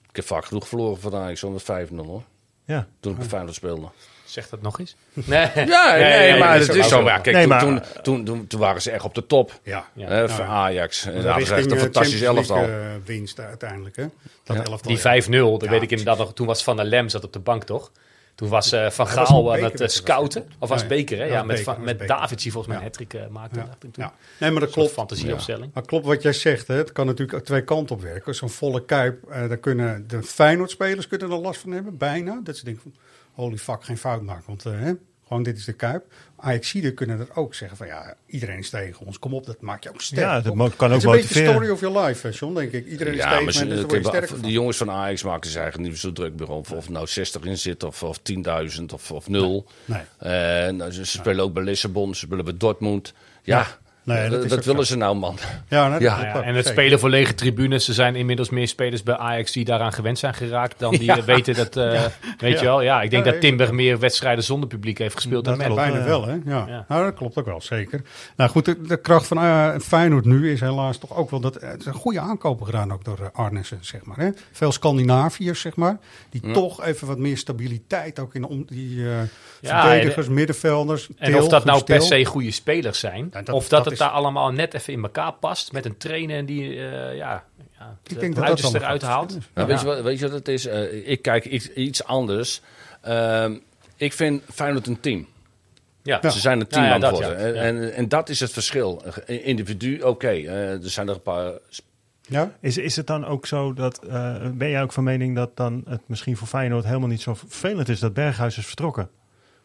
S4: Ik heb vaak genoeg verloren van Ajax, zo'n 5-0 hoor.
S5: Ja.
S4: Toen ik bij Feyenoord speelde.
S2: Zeg dat nog eens. Nee,
S4: Ja, nee, maar het is zo. Ja, kijk,
S5: Nee,
S4: toen-
S5: maar-
S4: toen, toen, toen, toen waren ze echt op de top.
S1: Ja.
S4: Hè,
S1: Ja.
S4: van
S1: Ja.
S4: Ajax. En
S1: Maar
S4: daar hadden ze echt een
S1: richting, eh,
S4: fantastisch
S1: Champions
S4: elftal.
S1: League, eh, winst uiteindelijk, hè? Dat elftal.
S2: Die 5-0,
S1: ja.
S2: dat
S1: Ja,
S2: weet ik inderdaad nog. Toen was Van der Lem zat op de bank, toch? Toen was eh, Van
S1: Dat was een
S2: Gaal aan het eh,
S1: bekerwedstrijd,
S2: scouten. Of was
S1: Nee,
S2: Beker, hè?
S1: dat
S2: Ja,
S1: was
S2: met,
S1: beker,
S2: van-
S1: dat was
S2: met
S1: beker.
S2: David die volgens mij een hat-trick eh, maakte.
S1: Ja.
S2: dacht ik toen.
S1: Ja. Nee, maar dat
S2: Een soort
S1: klopt.
S2: fantasieopstelling.
S1: Maar klopt wat jij zegt, hè? het kan natuurlijk ook twee kanten op werken. Zo'n volle kuip, eh, daar kunnen de Feyenoord-spelers kunnen er last van hebben, bijna. Dat ze denken van, holy fuck, geen fout maken, want eh, hè, gewoon dit is de kuip. Ajaxiden kunnen dat ook zeggen van, ja, iedereen is tegen ons, kom op, dat maakt je ook sterk.
S5: Ja, dat
S1: toch?
S5: mo- kan ook
S1: Het is een beetje de
S5: motiveren.
S1: story of your life, hè, John, denk ik. Iedereen is
S4: Ja,
S1: tegen
S4: maar
S1: me
S4: ze,
S1: en dus daar
S4: ik
S1: word je
S4: heb-
S1: sterker van.
S4: de jongens van Ajax maken zich eigenlijk niet zo druk meer om. Of er nou 60 in zit, of, of 10.000, of, of 0.
S1: Nee.
S4: Eh, nou, ze ze spelen ook bij Lissabon, ze spelen bij Dortmund. Ja,
S1: Nee, dat
S4: dat,
S1: is
S4: dat
S1: ook zo.
S4: willen ze nou, man.
S1: Ja, dat- dat
S4: ja.
S2: Nou Ja,
S1: klopt,
S2: en het
S1: zeker.
S2: spelen voor lege tribunes. Er zijn inmiddels meer spelers bij Ajax die daaraan gewend zijn geraakt. dan die
S1: Ja.
S2: eh, weten dat. eh, Weet
S1: Ja.
S2: je wel, ja, ik denk
S1: Ja,
S2: dat Timber meer wedstrijden zonder publiek heeft gespeeld dan
S1: Dat
S2: Melo.
S1: bijna
S2: Ja.
S1: wel, hè? Ja. Nou, dat klopt ook wel, zeker. Nou goed, de, de kracht van eh, Feyenoord nu is helaas toch ook wel dat... eh, Het zijn goede aankopen gedaan ook door eh, Arnesen, zeg maar. Hè? Veel Scandinaviërs, zeg maar. Die
S2: Ja.
S1: toch even wat meer stabiliteit ook in de om, die eh,
S2: Ja,
S1: verdedigers,
S2: en-
S1: middenvelders.
S2: En
S1: Til,
S2: of dat nou
S1: Van Stil. Nou,
S2: per se goede spelers zijn.
S1: dat-
S2: of dat,
S1: dat
S2: het
S1: is-
S2: daar allemaal net even in elkaar past. Met een trainer die eh, ja, ja, het
S1: Ik denk dat dat
S2: uiterste
S1: wel een
S2: eruit
S1: groot
S2: haalt.
S1: verschil
S4: Nou,
S2: Ja.
S4: Weet, je wat, weet je wat het is? Eh, ik kijk iets, iets anders. Ehm, ik vind Feyenoord een team.
S2: Ja.
S4: Ze zijn een team
S2: Ja, ja,
S4: aan het
S2: dat,
S4: worden.
S2: ja.
S4: En,
S2: Ja.
S4: en, en dat is het verschil. Eh, Individu, oké. eh, er zijn er een paar...
S5: Is, is het dan ook zo dat, eh, ben jij ook van mening dat dan het misschien voor Feyenoord helemaal niet zo vervelend is dat Berghuis is vertrokken?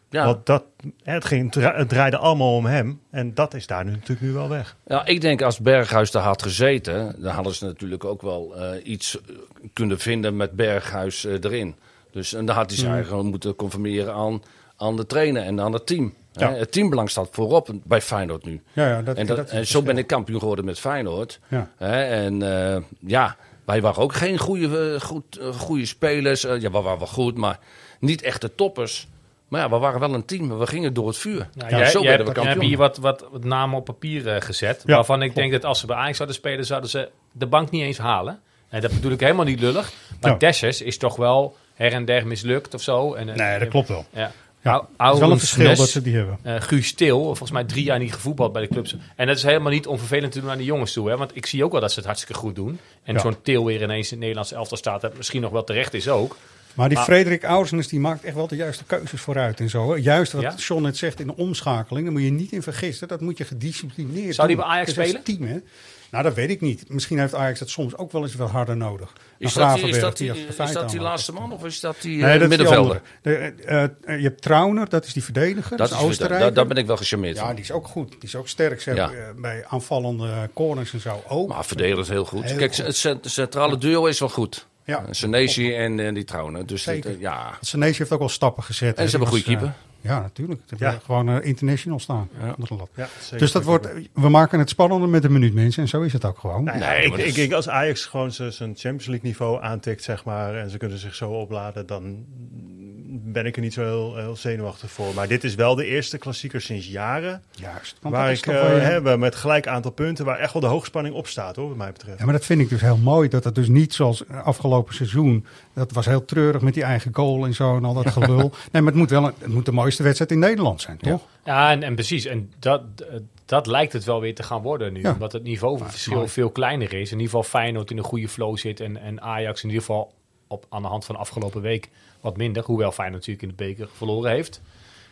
S4: Ja.
S5: Want dat, het, ging, het draaide allemaal om hem en dat is daar nu natuurlijk nu wel weg.
S4: Ja, ik denk als Berghuis daar had gezeten, dan hadden ze natuurlijk ook wel eh, iets eh, kunnen vinden met Berghuis eh, erin. Dus en dan had hij zich
S1: Hmm.
S2: Mm.
S4: eigenlijk moeten conformeren aan, aan de trainer en aan het team.
S1: Ja.
S4: Hè, Het teambelang staat voorop bij Feyenoord nu.
S1: Ja, ja, dat-
S4: en
S1: dat is
S4: en
S1: het
S4: zo ben ik kampioen geworden met Feyenoord.
S1: Ja.
S4: Hè, en eh, ja, wij waren ook geen goede, eh, goed, eh, goede spelers. Eh, ja, we waren wel goed, maar niet echt de toppers. Maar ja, we waren wel een team. We gingen door het vuur.
S2: Nou,
S4: En
S2: jij,
S4: zo
S2: jij
S4: werden we
S2: hebt, jij hebt
S4: kampioen.
S2: hier wat, wat, wat namen op papier eh, gezet.
S4: Ja,
S2: waarvan ik
S4: klopt.
S2: denk dat als ze bij Ajax zouden spelen, zouden ze de bank niet eens halen. En dat bedoel ik helemaal niet lullig. Maar
S1: Ja.
S2: Dessers is toch wel her en der mislukt of zo. En, eh,
S1: Nee, dat klopt wel.
S2: Ja.
S1: Ja,
S2: Au-
S1: is wel een
S2: Aurus
S1: verschil
S2: Nes,
S1: dat ze die hebben.
S2: eh, Guus Til, volgens mij drie jaar niet gevoetbald bij de clubs. En dat is helemaal niet onvervelend te doen aan de jongens toe. Hè? Want ik zie ook wel dat ze het hartstikke goed doen. En
S1: Ja.
S2: zo'n Til weer ineens in het Nederlandse elftal staat. Dat misschien nog wel terecht is ook.
S1: Maar die Frederik Ousens die maakt echt wel de juiste keuzes vooruit en zo. hè. Juist wat
S2: Ja?
S1: John net zegt in de omschakeling, daar moet je niet in vergissen. Dat moet je gedisciplineerd
S2: Zou die
S1: doen.
S2: bij Ajax
S1: Het is een
S2: spelen?
S1: Team, hè? Nou, dat weet ik niet. Misschien heeft Ajax dat soms ook wel eens wel harder nodig.
S4: Is
S1: Nou,
S4: dat, die, is,
S1: Gravenberg,
S4: dat
S1: die
S4: die,
S1: achter de
S4: is dat
S1: feiten
S4: die
S1: aan-
S4: laatste man of is dat die
S1: Nee,
S4: eh,
S1: dat is die
S4: middenvelder?
S1: andere. De, eh, eh, je hebt Trauner, dat is die verdediger.
S4: Dat
S1: Dat is
S4: is- dus
S1: Oostenrijk.
S4: daar- daar ben ik wel gecharmeerd
S1: Ja,
S4: van.
S1: die is ook goed. Die is ook sterk. Ze
S4: Ja.
S1: hebben, eh, bij aanvallende corners en zo ook.
S4: Maar verdedigend heel goed.
S1: Heel
S4: Kijk, het cent- centrale duo is wel goed.
S1: Ja.
S4: Ja. Senesi en, eh, die Trouwen. Dus het,
S1: Zeker.
S4: eh, ja.
S1: Want Senesi heeft ook wel stappen gezet.
S4: En
S1: hè.
S4: ze hebben
S1: Die
S4: een goede
S1: was, eh, ja, natuurlijk. Ze hebben
S5: Ja.
S1: gewoon eh, international staan. onder de lat.
S5: Ja, zeker.
S1: dus dat wordt, we maken het spannender met een minuut, mensen. En zo is het ook gewoon.
S5: Nou ja, ik, ik, ik- als Ajax gewoon zijn zijn Champions League niveau aantikt, zeg maar, en ze kunnen zich zo opladen, dan ben ik er niet zo heel, heel zenuwachtig voor. Maar dit is wel de eerste klassieker sinds jaren.
S1: Juist. want
S5: Waar
S1: dat is
S5: ik
S1: toch
S5: eh,
S1: wel-
S5: hebben met gelijk aantal punten, waar echt wel de hoogspanning op staat, hoor, wat mij betreft.
S1: Ja, maar dat vind ik dus heel mooi. Dat het dus niet zoals afgelopen seizoen. Dat was heel treurig met die eigen goal en zo en al dat gelul. Nee, maar het moet wel een- het moet de mooiste wedstrijd in Nederland zijn, toch?
S2: Ja, en, en precies. En dat, eh, dat lijkt het wel weer te gaan worden nu.
S1: Ja.
S2: Omdat het niveauverschil
S1: mooi.
S2: veel kleiner is. In ieder geval Feyenoord in een goede flow zit. En, en Ajax in ieder geval op, aan de hand van de afgelopen week wat minder. Hoewel Feyenoord natuurlijk in de beker verloren heeft.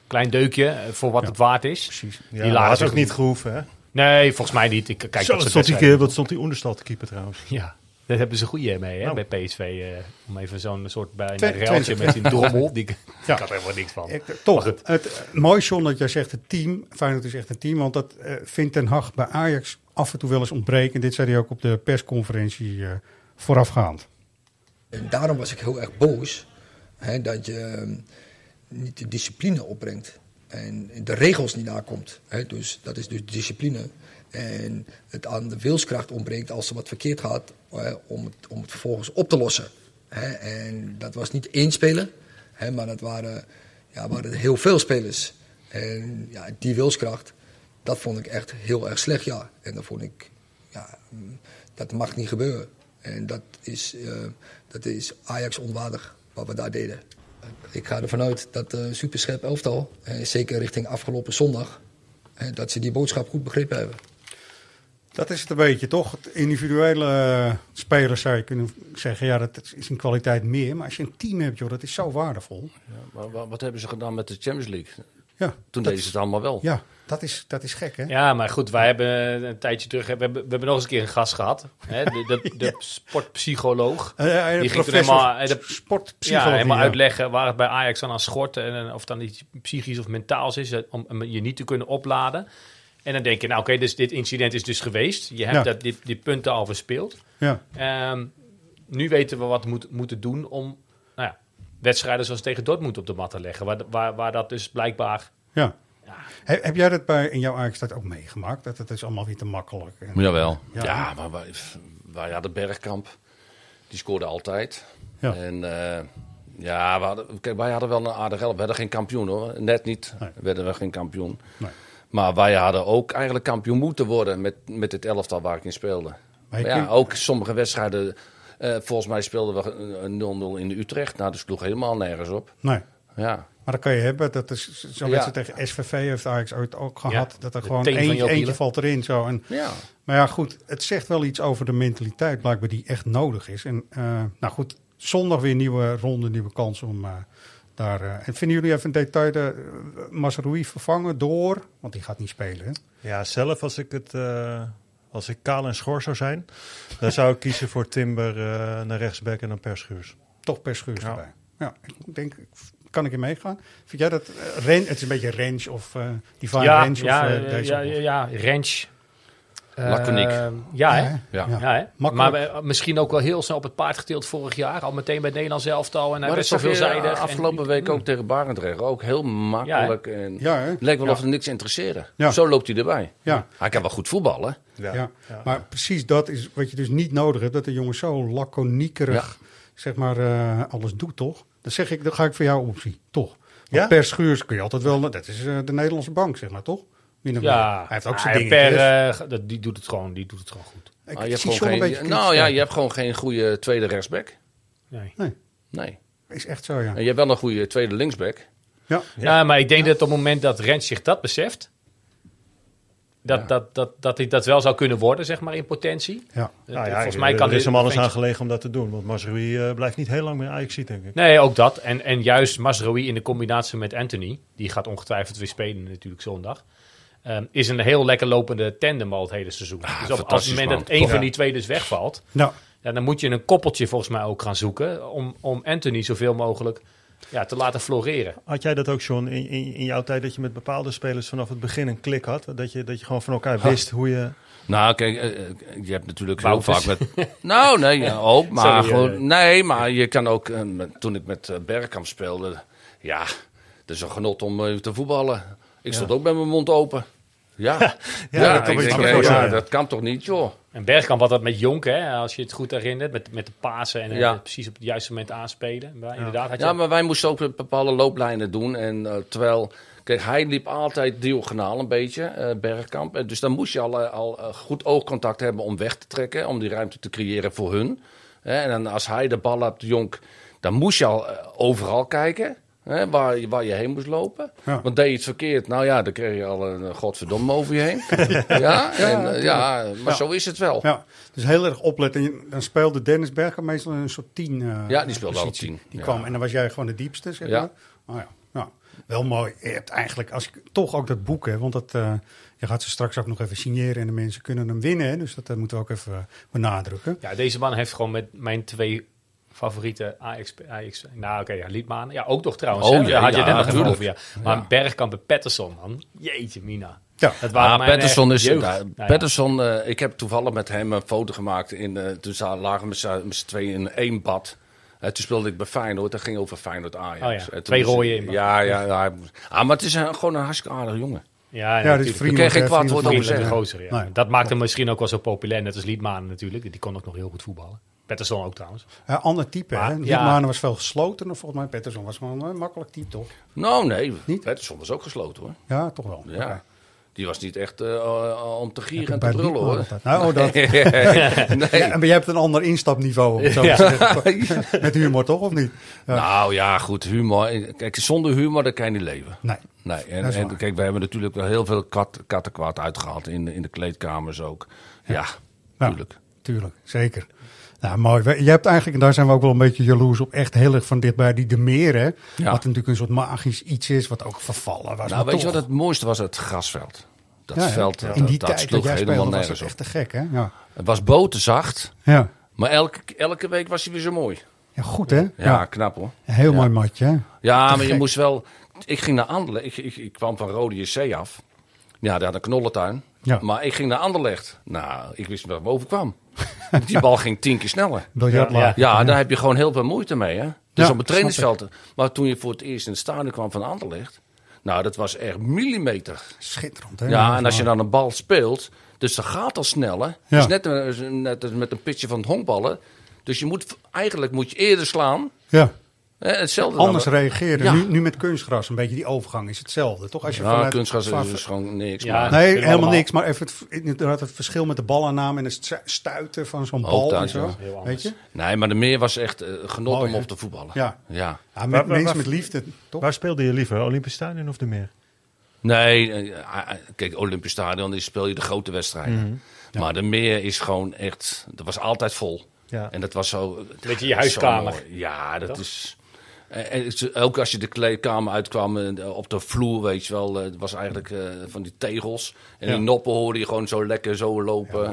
S2: Klein deukje eh, voor wat het waard is. Precies.
S5: Ja, maar had ook niet gehoeven, hè?
S2: Nee, volgens mij niet. Ik kijk dat
S5: Zo,
S2: soort
S5: wat stond die,
S2: wedstrijden.
S5: keer- wat stond die onderstal te keeper trouwens?
S2: Ja, daar hebben ze goede mee hè,
S5: Nou.
S2: bij PSV. eh, om even zo'n soort bijna
S1: Twen-
S2: ruiltje
S1: Twente.
S2: met die drommel. Die,
S1: Ja.
S2: Ik had er helemaal niks van.
S1: Ik-
S2: Maar
S1: toch,
S2: goed.
S1: het, mooi John dat jij zegt het team. Feyenoord is echt een team, want dat eh, vindt Ten Hag bij Ajax af en toe wel eens ontbreken. Dit zei hij ook op de persconferentie eh, voorafgaand.
S12: En daarom was ik heel erg boos hè, dat je ehm, niet de discipline opbrengt en de regels niet nakomt. Hè. Dus dat is dus discipline. En het aan de wilskracht ontbreekt als er wat verkeerd gaat hè, om, het, om het vervolgens op te lossen. Hè. En dat was niet één speler, hè, maar dat waren, ja, waren heel veel spelers. En ja, die wilskracht, dat vond ik echt heel erg slecht, ja. En dat vond ik, ja, mm, dat mag niet gebeuren. En dat is, eh, dat is Ajax onwaardig, wat we daar deden. Ik ga ervan uit dat eh superscherp elftal, eh, zeker richting afgelopen zondag, eh, dat ze die boodschap goed begrepen hebben.
S1: Dat is het een beetje, toch? Het individuele eh, spelers zou je kunnen zeggen, ja, dat is een kwaliteit meer. Maar als je een team hebt, joh, dat is zo waardevol.
S4: Maar wa- wat hebben ze gedaan met de Champions League?
S1: Ja,
S4: Toen
S1: dat
S4: deden
S1: is-
S4: ze het allemaal wel.
S1: Ja, dat is, dat is gek, hè?
S2: Ja, maar goed, wij hebben een tijdje terug... We hebben, we hebben nog eens een keer een gast gehad. Hè? De, de, de sportpsycholoog.
S1: Eh, ja, de
S2: die ging toen
S1: professor
S2: helemaal, eh, de,
S1: sportpsychologie,
S2: Ja, helemaal
S1: ja.
S2: uitleggen waar het bij Ajax dan aan schort... en eh, of dan iets psychisch of mentaals is... eh, om om je niet te kunnen opladen. En dan denk je, nou oké, dus dit incident is dus geweest. Je hebt
S1: Ja.
S2: dat, dit, dit punten al verspeeld.
S1: Ja.
S2: Ehm, nu weten we wat we moet, moeten doen om nou ja, wedstrijden zoals tegen Dortmund op de mat te leggen. Waar, waar, waar dat dus blijkbaar...
S1: Ja. He- heb jij dat bij, in jouw eigen tijd ook meegemaakt? Dat het is allemaal weer te makkelijk. En,
S4: Jawel.
S1: Ja.
S4: Ja, maar wij, wij hadden Bergkamp. Die scoorde altijd.
S1: Ja.
S4: En eh, ja, we hadden, kijk, wij hadden wel een aardig help. We hadden geen kampioen hoor. Net niet werden we geen kampioen.
S1: Nee.
S4: Maar wij hadden ook eigenlijk kampioen moeten worden met, met het elftal waar ik in speelde.
S1: Maar
S4: Maar
S1: je
S4: ja,
S1: kunt-
S4: ook sommige wedstrijden. eh, volgens mij speelden we eh, 0-0 in Utrecht. Nou, dat sloeg helemaal nergens op.
S1: Nee.
S4: Ja.
S1: Maar dat kan je hebben. Dat is zo'n
S4: Ja.
S1: wedstrijd tegen SVV heeft Ajax ooit ook gehad.
S4: Ja,
S1: Dat er
S4: de
S1: gewoon
S4: teen van
S1: eentje,
S4: Joop
S1: eentje
S4: Hiele.
S1: valt erin. Zo. En,
S4: Ja.
S1: Maar ja, goed. Het zegt wel iets over de mentaliteit blijkbaar die echt nodig is. En eh, nou goed, zondag weer nieuwe ronde, nieuwe kans om eh, daar... eh, en vinden jullie even een detail de eh, Mazraoui vervangen door... Want die gaat niet spelen, hè?
S5: Ja, zelf als ik het. eh, als ik kaal en schor zou zijn, dan zou ik kiezen voor Timber eh, naar rechtsback en dan Perschuurs.
S1: Toch Perschuurs
S5: Ja.
S1: erbij. Ja, ik denk... Kan ik in meegaan? Vind jij dat... eh, ren, het is een beetje range of... eh divine
S2: ja,
S1: range
S2: ja,
S1: of eh,
S2: eh,
S1: deze
S2: ja, ja, ja, range. Eh,
S4: Laconiek.
S2: ja, hè?
S4: Ja,
S2: Ja,
S4: hè? Ja.
S2: hè?
S4: Makkelijk.
S2: maar we- misschien ook wel heel snel op het paard getild vorig jaar. Al meteen bij het Nederlands elftal. En hij
S4: maar
S2: werd
S4: dat
S2: zo
S4: zag je
S2: Nou, veelzijdig.
S4: eh, afgelopen
S2: en,
S4: week ook tegen Barendrecht. Ook heel makkelijk.
S2: Ja, hè?
S4: en
S1: Ja, hè?
S4: het leek wel
S1: Ja.
S4: of het niks interesseerde.
S1: Ja.
S4: Zo loopt hij erbij.
S1: Ja.
S4: Hij kan wel goed voetballen.
S1: Ja. Maar precies dat is wat je dus niet nodig hebt. Dat de jongen zo laconiekerig zeg maar, eh, alles doet, toch? Dan zeg ik, dan ga ik voor jou optie, toch? Want
S5: Ja?
S1: per schuurs kun je altijd wel... Dat is eh, de Nederlandse bank, zeg maar, toch? Min of meer.
S2: ja, Ah,
S1: Hij heeft ook
S2: ja,
S1: zijn dingen.
S2: Per, eh, dat- die, doet het gewoon, die doet het gewoon goed.
S1: Ik
S4: Ah, je hebt
S1: zie
S4: gewoon
S1: John een
S4: geen-
S1: beetje
S4: nou
S1: kritisch
S4: ja,
S1: kijken.
S4: je hebt gewoon geen goede tweede rechtsback.
S2: Nee.
S1: Nee,
S4: Nee.
S1: is echt zo, ja.
S4: En je hebt wel een goede tweede linksback.
S2: Ja, Nou, maar ik denk dat op het moment dat Rens zich dat beseft, dat, dat, dat, dat hij dat wel zou kunnen worden, zeg maar, in potentie.
S5: Ja.
S2: Eh,
S5: Nou ja,
S2: Volgens mij kan
S5: er is
S2: dit
S5: hem alles
S2: ventje-
S5: aan gelegen om dat te doen. Want Mazraoui eh, blijft niet heel lang meer Ajax denk ik.
S2: Nee, ook dat. En, en juist Masrowi in de combinatie met Anthony, die gaat ongetwijfeld weer spelen natuurlijk zondag, ehm, is een heel lekker lopende tandem al het hele seizoen. dus op, als
S4: Ah, fantastisch,
S2: het moment
S4: man.
S2: dat één
S4: Top.
S2: van
S4: Ja.
S2: die twee dus wegvalt,
S1: Ja.
S2: ja, dan moet je een koppeltje volgens mij ook gaan zoeken om, om Anthony zoveel mogelijk ja, te laten floreren.
S5: Had jij dat ook, John, in, in, in jouw tijd dat je met bepaalde spelers vanaf het begin een klik had? Dat je, dat je gewoon van elkaar
S4: Ha.
S5: wist hoe je...
S4: Nou, kijk, eh, eh, je hebt natuurlijk
S5: Wouters.
S4: heel vaak met... Nou, nee, ja, ook, maar
S5: Sorry, eh.
S4: gewoon... nee, maar je kan ook... eh, met- toen ik met eh, Bergkamp speelde, ja, het is een genot om eh, te voetballen.
S2: Ja.
S4: Ik stond ook met mijn mond open. Ja, ja,
S2: dat kan
S4: ik
S2: me
S4: denk,
S2: iets
S4: eh,
S2: voorstellen.
S4: ja, dat kan toch niet, joh.
S2: En Bergkamp had dat met Jonk, hè, als je het goed herinnert, met, met de Pasen en eh,
S4: Ja.
S2: precies op het juiste moment aanspelen. Maar inderdaad had je...
S4: Ja, maar wij moesten ook bepaalde looplijnen doen. En eh, terwijl, kijk, hij liep altijd diagonaal een beetje, eh, Bergkamp. En dus dan moest je al, eh, al eh, goed oogcontact hebben om weg te trekken, om die ruimte te creëren voor hun. Hè, en dan als hij de bal hebt, Jonk, dan moest je al eh, overal kijken. Hè, waar, je- waar je heen moest lopen.
S1: Ja.
S4: Want deed je iets verkeerd, nou ja, dan kreeg je al een eh, godverdomme over je heen. ja, en, eh, ja, maar
S1: Ja.
S4: zo is het wel.
S1: Ja, dus heel erg opletten. En Dan speelde Dennis Berger meestal in een soort tien. eh,
S4: Ja, die
S1: positie.
S4: speelde altijd tien.
S1: Die
S4: Ja.
S1: kwam en dan was jij gewoon de diepste, zeg
S4: Ja.
S1: maar. Oh, ja. Ja. Wel mooi. Je hebt eigenlijk, als ik toch ook dat boek, hè, want dat, eh, je gaat ze straks ook nog even signeren en de mensen kunnen hem winnen. Hè, dus dat eh, moeten we ook even benadrukken.
S2: Ja, deze man heeft gewoon met mijn twee favoriete Ajax... Ajax nou, oké, ja, Liedman. Ja, ook toch trouwens.
S4: Oh,
S2: hè?
S4: ja,
S2: Daar had je
S4: ja,
S2: het net nog even
S4: natuurlijk.
S2: over, ja. Maar
S4: Ja.
S2: Bergkamp en Patterson, man. Jeetje, Mina.
S1: Ja,
S2: dat
S4: Ah,
S2: waren mijn
S4: Patterson
S2: echt
S4: is.
S2: jeugd.
S4: daar-
S2: Nou ja.
S4: Patterson, eh, ik heb toevallig met hem een foto gemaakt. In, eh, toen za- lagen we met z'n- met z'n tweeën in één bad. Eh, toen speelde ik bij Feyenoord. Dat ging over Feyenoord Ajax.
S2: Oh ja,
S4: Eh, toen
S2: twee
S4: moest ik-
S2: rode in bad.
S4: Ja, ja, ja. hij moest- Ah, maar het is een- gewoon een hartstikke aardige jongen.
S2: Ja,
S4: ja Ik kreeg geen kwaad woord over
S2: Vriendelijke
S4: zeggen.
S2: gozer, Nou ja.
S1: Nee.
S2: Dat maakt hem misschien ook wel zo populair. Net als Liedman natuurlijk. Die kon ook nog heel goed voetballen. Patterson ook trouwens.
S1: Eh, ander type,
S2: Maar,
S1: hè.
S2: ja.
S1: Liedmanen was veel gesloten. Of volgens mij Pettersson was gewoon een makkelijk type, toch?
S4: Nou, nee. Patterson was ook gesloten hoor.
S1: Ja, toch wel.
S4: Ja.
S1: Oké.
S4: Die was niet echt eh, eh, om te gieren en
S1: Bij
S4: te
S1: Liedmanen
S4: brullen hoor.
S1: altijd. Nou, oh, dat.
S4: nee.
S1: Ja, maar jij hebt een ander instapniveau, om het zo te
S4: Ja.
S1: zeggen. Met humor, toch? Of niet? Ja.
S4: Nou ja, goed, humor. Kijk, zonder humor dan kan je niet leven.
S1: Nee.
S4: nee. En,
S1: Dat is waar.
S4: en kijk, we hebben natuurlijk wel heel veel kat, kattenkwaad uitgehaald in, de- in de kleedkamers ook. Ja,
S1: Ja,
S4: tuurlijk.
S1: Nou, Tuurlijk, zeker. Nou, mooi. We- Je hebt eigenlijk, en daar zijn we ook wel een beetje jaloers op, echt heel erg van dichtbij die de meren. Wat natuurlijk een soort magisch iets is, wat ook vervallen was.
S4: nou, weet je wat het mooiste was? Het grasveld. Dat
S1: Ja, hè?
S4: veld,
S1: Ja.
S4: dat,
S1: In die
S4: dat
S1: tijd
S4: sloeg
S1: dat jij
S4: helemaal
S1: speelde was
S4: nergens
S1: het
S4: op.
S1: echt te gek, hè? Ja.
S4: Het was boterzacht,
S1: Ja.
S4: maar elke, elke week was hij weer zo mooi.
S1: Ja, goed, hè? Ja,
S4: Ja, knap hoor.
S1: Een heel mooi matje, hè?
S4: Ja,
S1: Te
S4: maar je
S1: gek.
S4: moest wel... Ik ging naar Anderlecht. Ik, ik, ik kwam van Rode JC af. Ja, daar had een knollentuin.
S1: Ja.
S4: Maar ik ging naar Anderlecht. Nou, ik wist niet wat me overkwam. Die bal ging tien keer sneller.
S1: Biljartlaag.
S4: Ja, ja, daar heb je gewoon heel veel moeite mee. Hè? Dus
S1: Ja,
S4: op het trainingsveld. Maar toen je voor het eerst in het stadion kwam van Anderlecht... Nou, dat was echt millimeter.
S1: Schitterend, hè?
S4: Ja, en als je dan een bal speelt... Dus dat gaat al sneller.
S1: Ja.
S4: Dus net, een- net als met een pitje van het honkballen. Dus je moet, eigenlijk moet je eerder slaan...
S1: Ja.
S4: Hè, Hetzelfde dan-
S1: Anders reageren.
S4: Ja.
S1: Nu, nu met kunstgras, een beetje die overgang is hetzelfde, toch? Als je
S4: Ja,
S1: vanuit-
S4: kunstgras is
S1: van-
S4: dus gewoon niks,
S1: Ja,
S4: maar- dat
S1: nee,
S4: kunnen we
S1: helemaal
S4: allemaal.
S1: niks. Maar even het, inderdaad het verschil met de balaanname en het stu- stuiten van zo'n
S4: Ook
S1: bal en
S4: thuis,
S1: zo.
S4: ja. Heel
S1: Weet je?
S4: Nee, maar de meer was echt eh, genot
S1: Mooi,
S4: om
S1: hè?
S4: op te voetballen.
S1: Ja.
S4: ja.
S1: Ja, met,
S5: Waar- waar-
S1: mensen
S5: waar-
S1: met liefde, toch?
S5: Waar speelde je liever? Olympisch Stadion of de Meer?
S4: Nee, eh, eh, kijk, Olympisch Stadion is speel je de grote wedstrijden.
S5: Mhm.
S4: Maar de meer is gewoon echt, dat was altijd vol.
S5: Ja.
S4: En dat was zo...
S2: Beetje je
S4: dat is zo
S2: huiskamer.
S4: mooi. Ja, dat
S2: Toch?
S4: is... En en het is- ook als je de kleedkamer uitkwam eh, op de vloer, weet je wel, eh, het was eigenlijk eh, van die tegels. En
S5: Ja.
S4: die noppen hoorde je gewoon zo lekker zo lopen. Ja,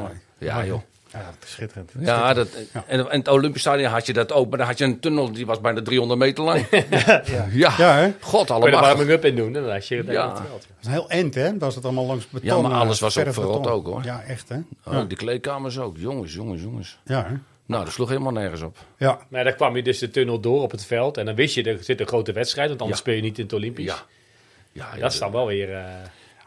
S5: Mooi,
S4: joh.
S5: hè? Ja, schitterend.
S4: Ja, dat, eh, en en het Olympisch Stadion had je dat ook, maar dan had je een tunnel die was bijna 300 meter lang. ja,
S1: hè?
S4: god
S2: Kun je er
S4: allemaal.
S2: warming-up in doen, hè, dan had je het
S4: Ja.
S2: hele veld.
S1: Dat is een heel end, hè? Dat is het allemaal langs beton.
S4: Ja, maar
S1: eh,
S4: alles was ook
S1: verf
S4: verrot
S1: beton.
S4: ook hoor.
S1: Ja, echt, hè?
S4: Oh,
S1: Ja.
S4: De kleedkamers ook, jongens, jongens, jongens.
S1: Ja, hè?
S4: Nou, dat sloeg helemaal nergens op.
S1: Ja.
S2: Maar dan kwam je dus de tunnel door op het veld. En dan wist je, er zit een grote wedstrijd. Want anders
S4: Ja.
S2: speel je niet in het Olympisch.
S4: Ja. Ja, ja,
S2: dat is dan wel weer... eh,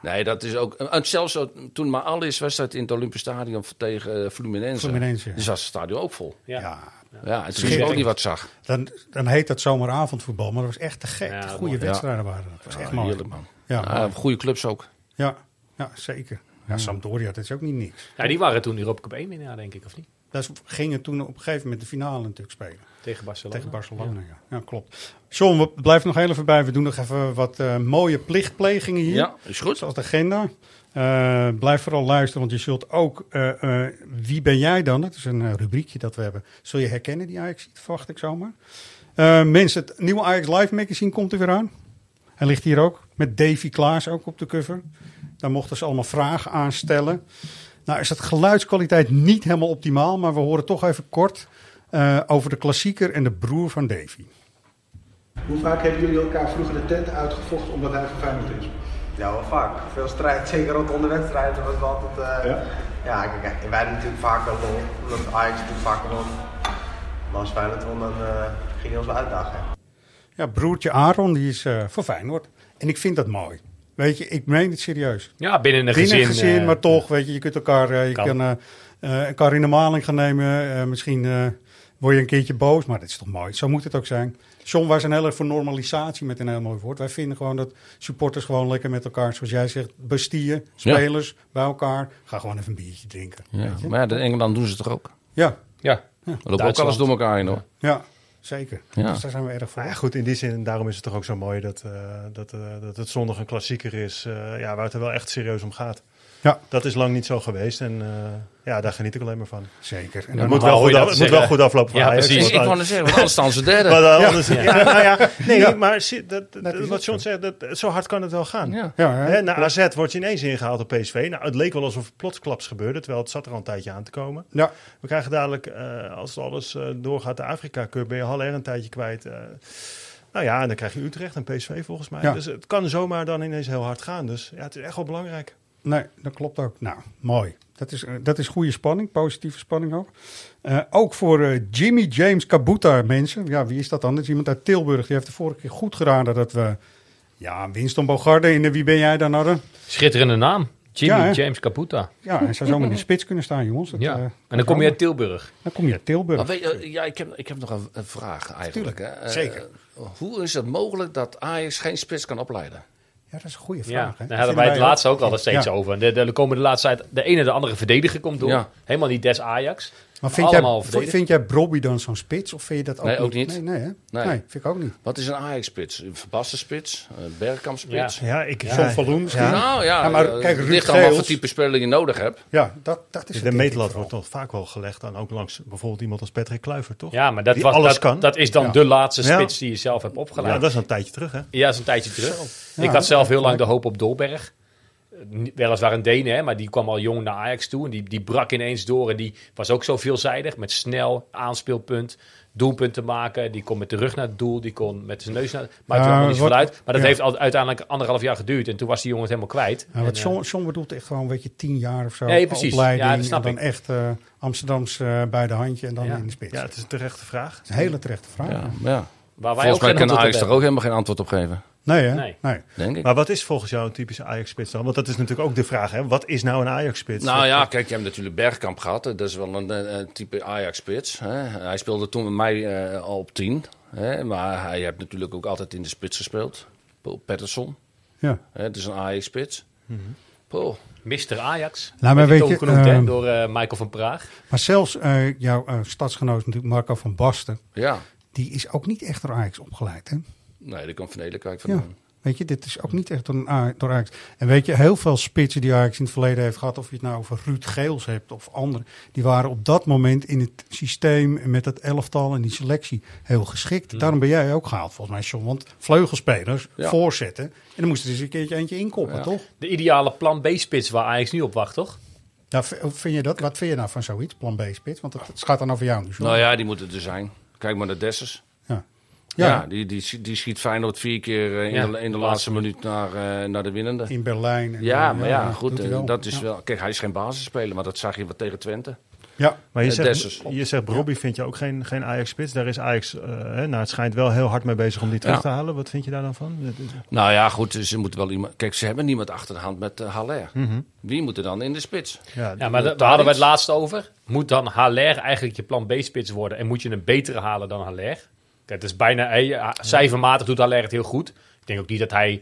S4: Nee, dat is ook. En zelfs zo- toen maar alles was dat in het Olympisch Stadion tegen eh, Fluminense.
S1: Fluminense.
S4: Dus was het stadion ook vol.
S2: Ja.
S4: Ja, en toen
S1: Schitterend.
S4: wist ook niet wat zag.
S1: Dan, dan heet dat zomeravondvoetbal, maar dat was echt te gek.
S2: Ja,
S1: Goede
S4: mooi.
S1: wedstrijden
S4: Ja.
S1: waren dat. Dat was
S4: Ja,
S1: echt mooi.
S4: heerlijk, man.
S1: Ja,
S4: Ja,
S1: mooi.
S4: goede clubs ook.
S1: ja. ja zeker. Ja, Sampdoria, dat is ook niet niks.
S2: ja, die waren toen Europa Cup 1 winnaar, denk ik, of niet?
S1: Daar gingen toen op een gegeven moment de finale natuurlijk spelen.
S2: Tegen Barcelona.
S1: Tegen Barcelona, ja. ja. klopt. John, we blijven nog heel even bij. We doen nog even wat eh, mooie plichtplegingen hier.
S4: Ja, is goed.
S1: Zoals de agenda. Eh, blijf vooral luisteren, want je zult ook... eh, eh, wie ben jij dan? Het is een eh, rubriekje dat we hebben. Zul je herkennen die Ajax, verwacht ik zomaar. Eh, mensen, het nieuwe Ajax Live magazine komt er weer aan. Hij ligt hier ook, met Davy Klaas ook op de cover. Daar mochten ze allemaal vragen aan stellen. Nou is het geluidskwaliteit niet helemaal optimaal, maar we horen toch even kort eh, over de klassieker en de broer van Davy.
S13: Hoe vaak hebben jullie elkaar vroeger de tent uitgevochten omdat hij vervuilend is?
S14: Ja, wel vaak. Veel strijd, zeker rondom de wedstrijd. Dat was wel altijd. eh,
S13: Ja?
S14: ja, kijk, wij hadden natuurlijk vaak wel lol. Omdat Ajax natuurlijk vaak wel lol. Maar als Feyenoord won, dan eh, ging hij ons wel uitdagen.
S1: Ja, broertje Aaron, die is eh voor Feyenoord. En ik vind dat mooi. Weet je, ik meen het serieus.
S2: Ja, binnen een
S1: Binnen
S2: gezin, eh,
S1: maar toch, weet je, je kunt elkaar, eh, je
S2: Kan.
S1: kan, eh, eh, elkaar in de maling gaan nemen. Eh, misschien eh, word je een keertje boos, maar dat is toch mooi. Zo moet het ook zijn. John, wij zijn heel erg voor normalisatie met een heel mooi woord. Wij vinden gewoon dat supporters gewoon lekker met elkaar, zoals jij zegt, bestien, spelers bij elkaar. Ga gewoon even een biertje drinken.
S4: Ja,
S1: weet je.
S4: maar ja, in Engeland doen ze het toch ook?
S1: Ja.
S2: Ja.
S4: We lopen ook alles door elkaar heen hoor.
S1: Ja, zeker.
S4: Ja.
S1: Dus daar zijn we erg voor.
S5: Nou ja, goed, in die zin, daarom is het toch ook zo mooi dat, eh, dat, eh, dat het zondag een klassieker is. eh, ja, waar het er wel echt serieus om gaat.
S1: Ja.
S5: Dat is lang niet zo geweest en eh, ja, daar geniet ik alleen maar van.
S1: Zeker.
S5: En het moet, wel goed, af- het moet wel goed aflopen voor Ajax, want
S4: Ik wou
S5: dan-
S4: net zeggen, want anders staan ze derde.
S5: Maar dan- anders- ja, nou ja, nee,
S4: Ja.
S5: maar zie- dat, dat- wat John zegt, dat, zo hard kan het wel gaan.
S4: Ja.
S1: Ja, hè?
S5: Hè, na AZ wordt je ineens ingehaald op PSV. Nou, het leek wel alsof het plotsklaps gebeurde, terwijl het zat er al een tijdje aan te komen.
S1: Ja.
S5: We krijgen dadelijk, eh, als alles eh, doorgaat, de Afrika Cup, ben je Haller een tijdje kwijt. eh. nou ja, en dan krijg je Utrecht en PSV volgens mij.
S1: Ja.
S5: Dus het kan zomaar dan ineens heel hard gaan. Dus ja, het is echt wel belangrijk.
S1: Nee, dat klopt ook. Nou, mooi. Dat is, eh, dat is goede spanning, positieve spanning ook. Eh, ook voor eh, Jimmy James Kabuta, mensen. Ja, wie is dat dan? Dat is iemand uit Tilburg. Die heeft de vorige keer goed geraden dat we... Ja, Winston Bogarde in de Wie ben jij dan hadden?
S2: Schitterende naam. Jimmy
S1: Ja, hè?
S2: James Caputa.
S1: Ja, hij zou zomaar in de spits kunnen staan, jongens. Dat,
S2: Ja.
S1: eh,
S2: En
S1: kan
S2: dan kom je
S1: zomaar.
S2: uit Tilburg.
S1: Dan kom je uit Tilburg.
S4: Maar weet je, eh, ja, ik, heb, ik heb nog een, een vraag eigenlijk.
S1: Tuurlijk,
S4: hè. Eh,
S1: zeker.
S4: hoe is het mogelijk dat Ajax geen spits kan opleiden?
S1: Ja, dat is een goede
S2: Ja,
S1: vraag. hè?
S2: daar hadden
S1: Vinden
S2: wij het laatste ook al steeds
S1: Ja.
S2: over. De, de, er komen de laatste tijd de ene de andere verdediger komt door.
S1: Ja.
S2: Helemaal niet des Ajax.
S1: Maar vind
S2: Allemaal
S1: jij,
S2: verdedigers.
S1: vind jij Brobby dan zo'n spits? Of vind je dat ook
S4: nee, ook niet.
S1: Nee, nee, hè? nee. vind ik ook niet.
S4: Wat is een Ajax-spits? Een verbaste spits? Een Bergkamp-spits?
S1: Ja. Ja, ik- John van Loen misschien.
S4: Nou ja,
S1: Ja, maar
S4: maar,
S1: kijk,
S4: kijk, het
S1: Ruud
S4: ligt allemaal
S1: Geels-
S4: wat type speler je nodig hebt.
S1: Ja, dat, dat is
S5: de meetlat wordt toch vaak wel gelegd aan ook langs bijvoorbeeld iemand als Patrick Kluivert, toch?
S2: Ja, maar dat,
S5: Die
S2: was,
S5: alles
S2: dat,
S5: kan.
S2: dat is dan
S5: Ja.
S2: de laatste
S5: Ja.
S2: spits die je zelf hebt opgeleid.
S5: Ja, dat is een tijdje terug, hè?
S2: Ja, dat is een tijdje terug.
S5: Zo.
S2: ik
S5: Ja,
S2: had zelf
S5: dat-
S2: heel lang de hoop op Dolberg. Eh, niet- Weliswaar een Deen, hè, maar die kwam al jong naar Ajax toe. En die, die brak ineens door en die was ook zo veelzijdig. Met snel aanspeelpunt, doelpunten maken. Die kon met de rug naar het doel, die kon met zijn neus naar... Maar
S1: Ja,
S2: toen kwam er niet
S1: wat-
S2: zoveel uit. Maar dat
S1: ja.
S2: heeft al, uiteindelijk anderhalf jaar geduurd. En toen was die jongen het helemaal kwijt.
S1: Ja,
S2: En,
S1: wat
S2: eh,
S1: John, John bedoelt echt gewoon, weet je, tien jaar of zo.
S2: Nee, precies.
S1: Opleiding,
S2: Ja, dat snap
S1: en dan
S2: ik.
S1: echt eh Amsterdams eh, bij de handje en dan
S2: Ja.
S1: in de spits.
S5: Ja, het is een terechte vraag.
S1: is een hele terechte vraag.
S4: Ja,
S1: Ja.
S4: maar ja.
S2: Waar wij ook
S4: Volgens mij
S2: geen
S4: kan
S2: antwoord
S4: Ajax
S2: op
S4: daar ook helemaal geen antwoord op geven.
S1: Nee, hè?
S2: Nee.
S4: Denk ik.
S5: Maar wat is volgens jou een typische Ajax-spits dan? Want dat is natuurlijk ook de vraag, hè? Wat is nou een Ajax-spits?
S4: Nou ja, kijk, je hebt natuurlijk Bergkamp gehad. hè. Dat is wel een, eh, een type Ajax-spits. hè. Hij speelde toen met mij eh, al op 10. Hè? Maar hij heeft natuurlijk ook altijd in de spits gespeeld. Paul Patterson.
S1: Ja.
S4: Hè? Het is een Ajax-spits.
S2: Mhm.
S4: Paul.
S2: Mr. Ajax.
S1: Nou, maar
S2: werd
S1: weet
S2: ook
S1: je,
S2: genoemd,
S1: eh,
S2: hè, door eh, Michael van Praag.
S1: Maar zelfs eh, jouw eh, stadsgenoot natuurlijk, Marco van Basten.
S4: Ja.
S1: Die is ook niet echt door Ajax opgeleid, hè?
S4: Nee, die komt van Edekwijk
S1: Ja.
S4: vandaan.
S1: Weet je, dit is ook niet echt door, een A- door Ajax. En weet je, heel veel spitsen die Ajax in het verleden heeft gehad... of je het nou over Ruud Geels hebt of anderen... die waren op dat moment in het systeem en met dat elftal en die selectie heel geschikt.
S4: Mm.
S1: Daarom ben jij ook gehaald, volgens mij, John. Want vleugelspelers
S2: Ja.
S1: voorzetten. En dan moesten ze eens een keertje eentje inkoppen,
S2: Ja.
S1: toch?
S2: De ideale plan B-spits waar Ajax nu op wacht, toch?
S1: Nou, v- hoe vind je dat? Wat vind je nou van zoiets, plan B-spits? Want het, het gaat dan over jou nu, John.
S4: Nou ja, die moeten er zijn. Kijk maar naar Dessers.
S1: Ja.
S4: Ja,
S1: Ja.
S4: die, die, schi- die schiet Feyenoord vier keer eh, in,
S1: Ja,
S4: de, in de laatste minuut naar, eh, naar de winnende.
S1: In Berlijn. en,
S4: ja,
S1: eh,
S4: maar ja,
S1: dat doet
S4: goed.
S1: hij
S4: eh,
S1: wel.
S4: Dat is
S1: Ja.
S4: wel... Kijk, hij is geen basisspeler, maar dat zag je wat tegen Twente.
S1: Ja,
S5: Maar je
S4: Eh,
S5: zegt,
S4: Dessers.
S5: je zegt Robbie vind je ook geen, geen Ajax-spits. Daar is Ajax, eh, hè, naar het schijnt, wel heel hard mee bezig om die terug
S4: Ja.
S5: te halen. Wat vind je daar dan van?
S4: Nou ja, goed, ze moeten wel iemand... Kijk, ze hebben niemand achter de hand met eh, Haller.
S5: Mhm.
S4: Wie moet er dan in de spits?
S5: Ja,
S2: Ja, maar da- daar hadden we het laatst over. Moet dan Haller eigenlijk je plan B-spits worden? En moet je een betere halen dan Haller? Kijk, dat is bijna... eh, ja, cijfermatig doet Haller het heel goed. Ik denk ook niet dat hij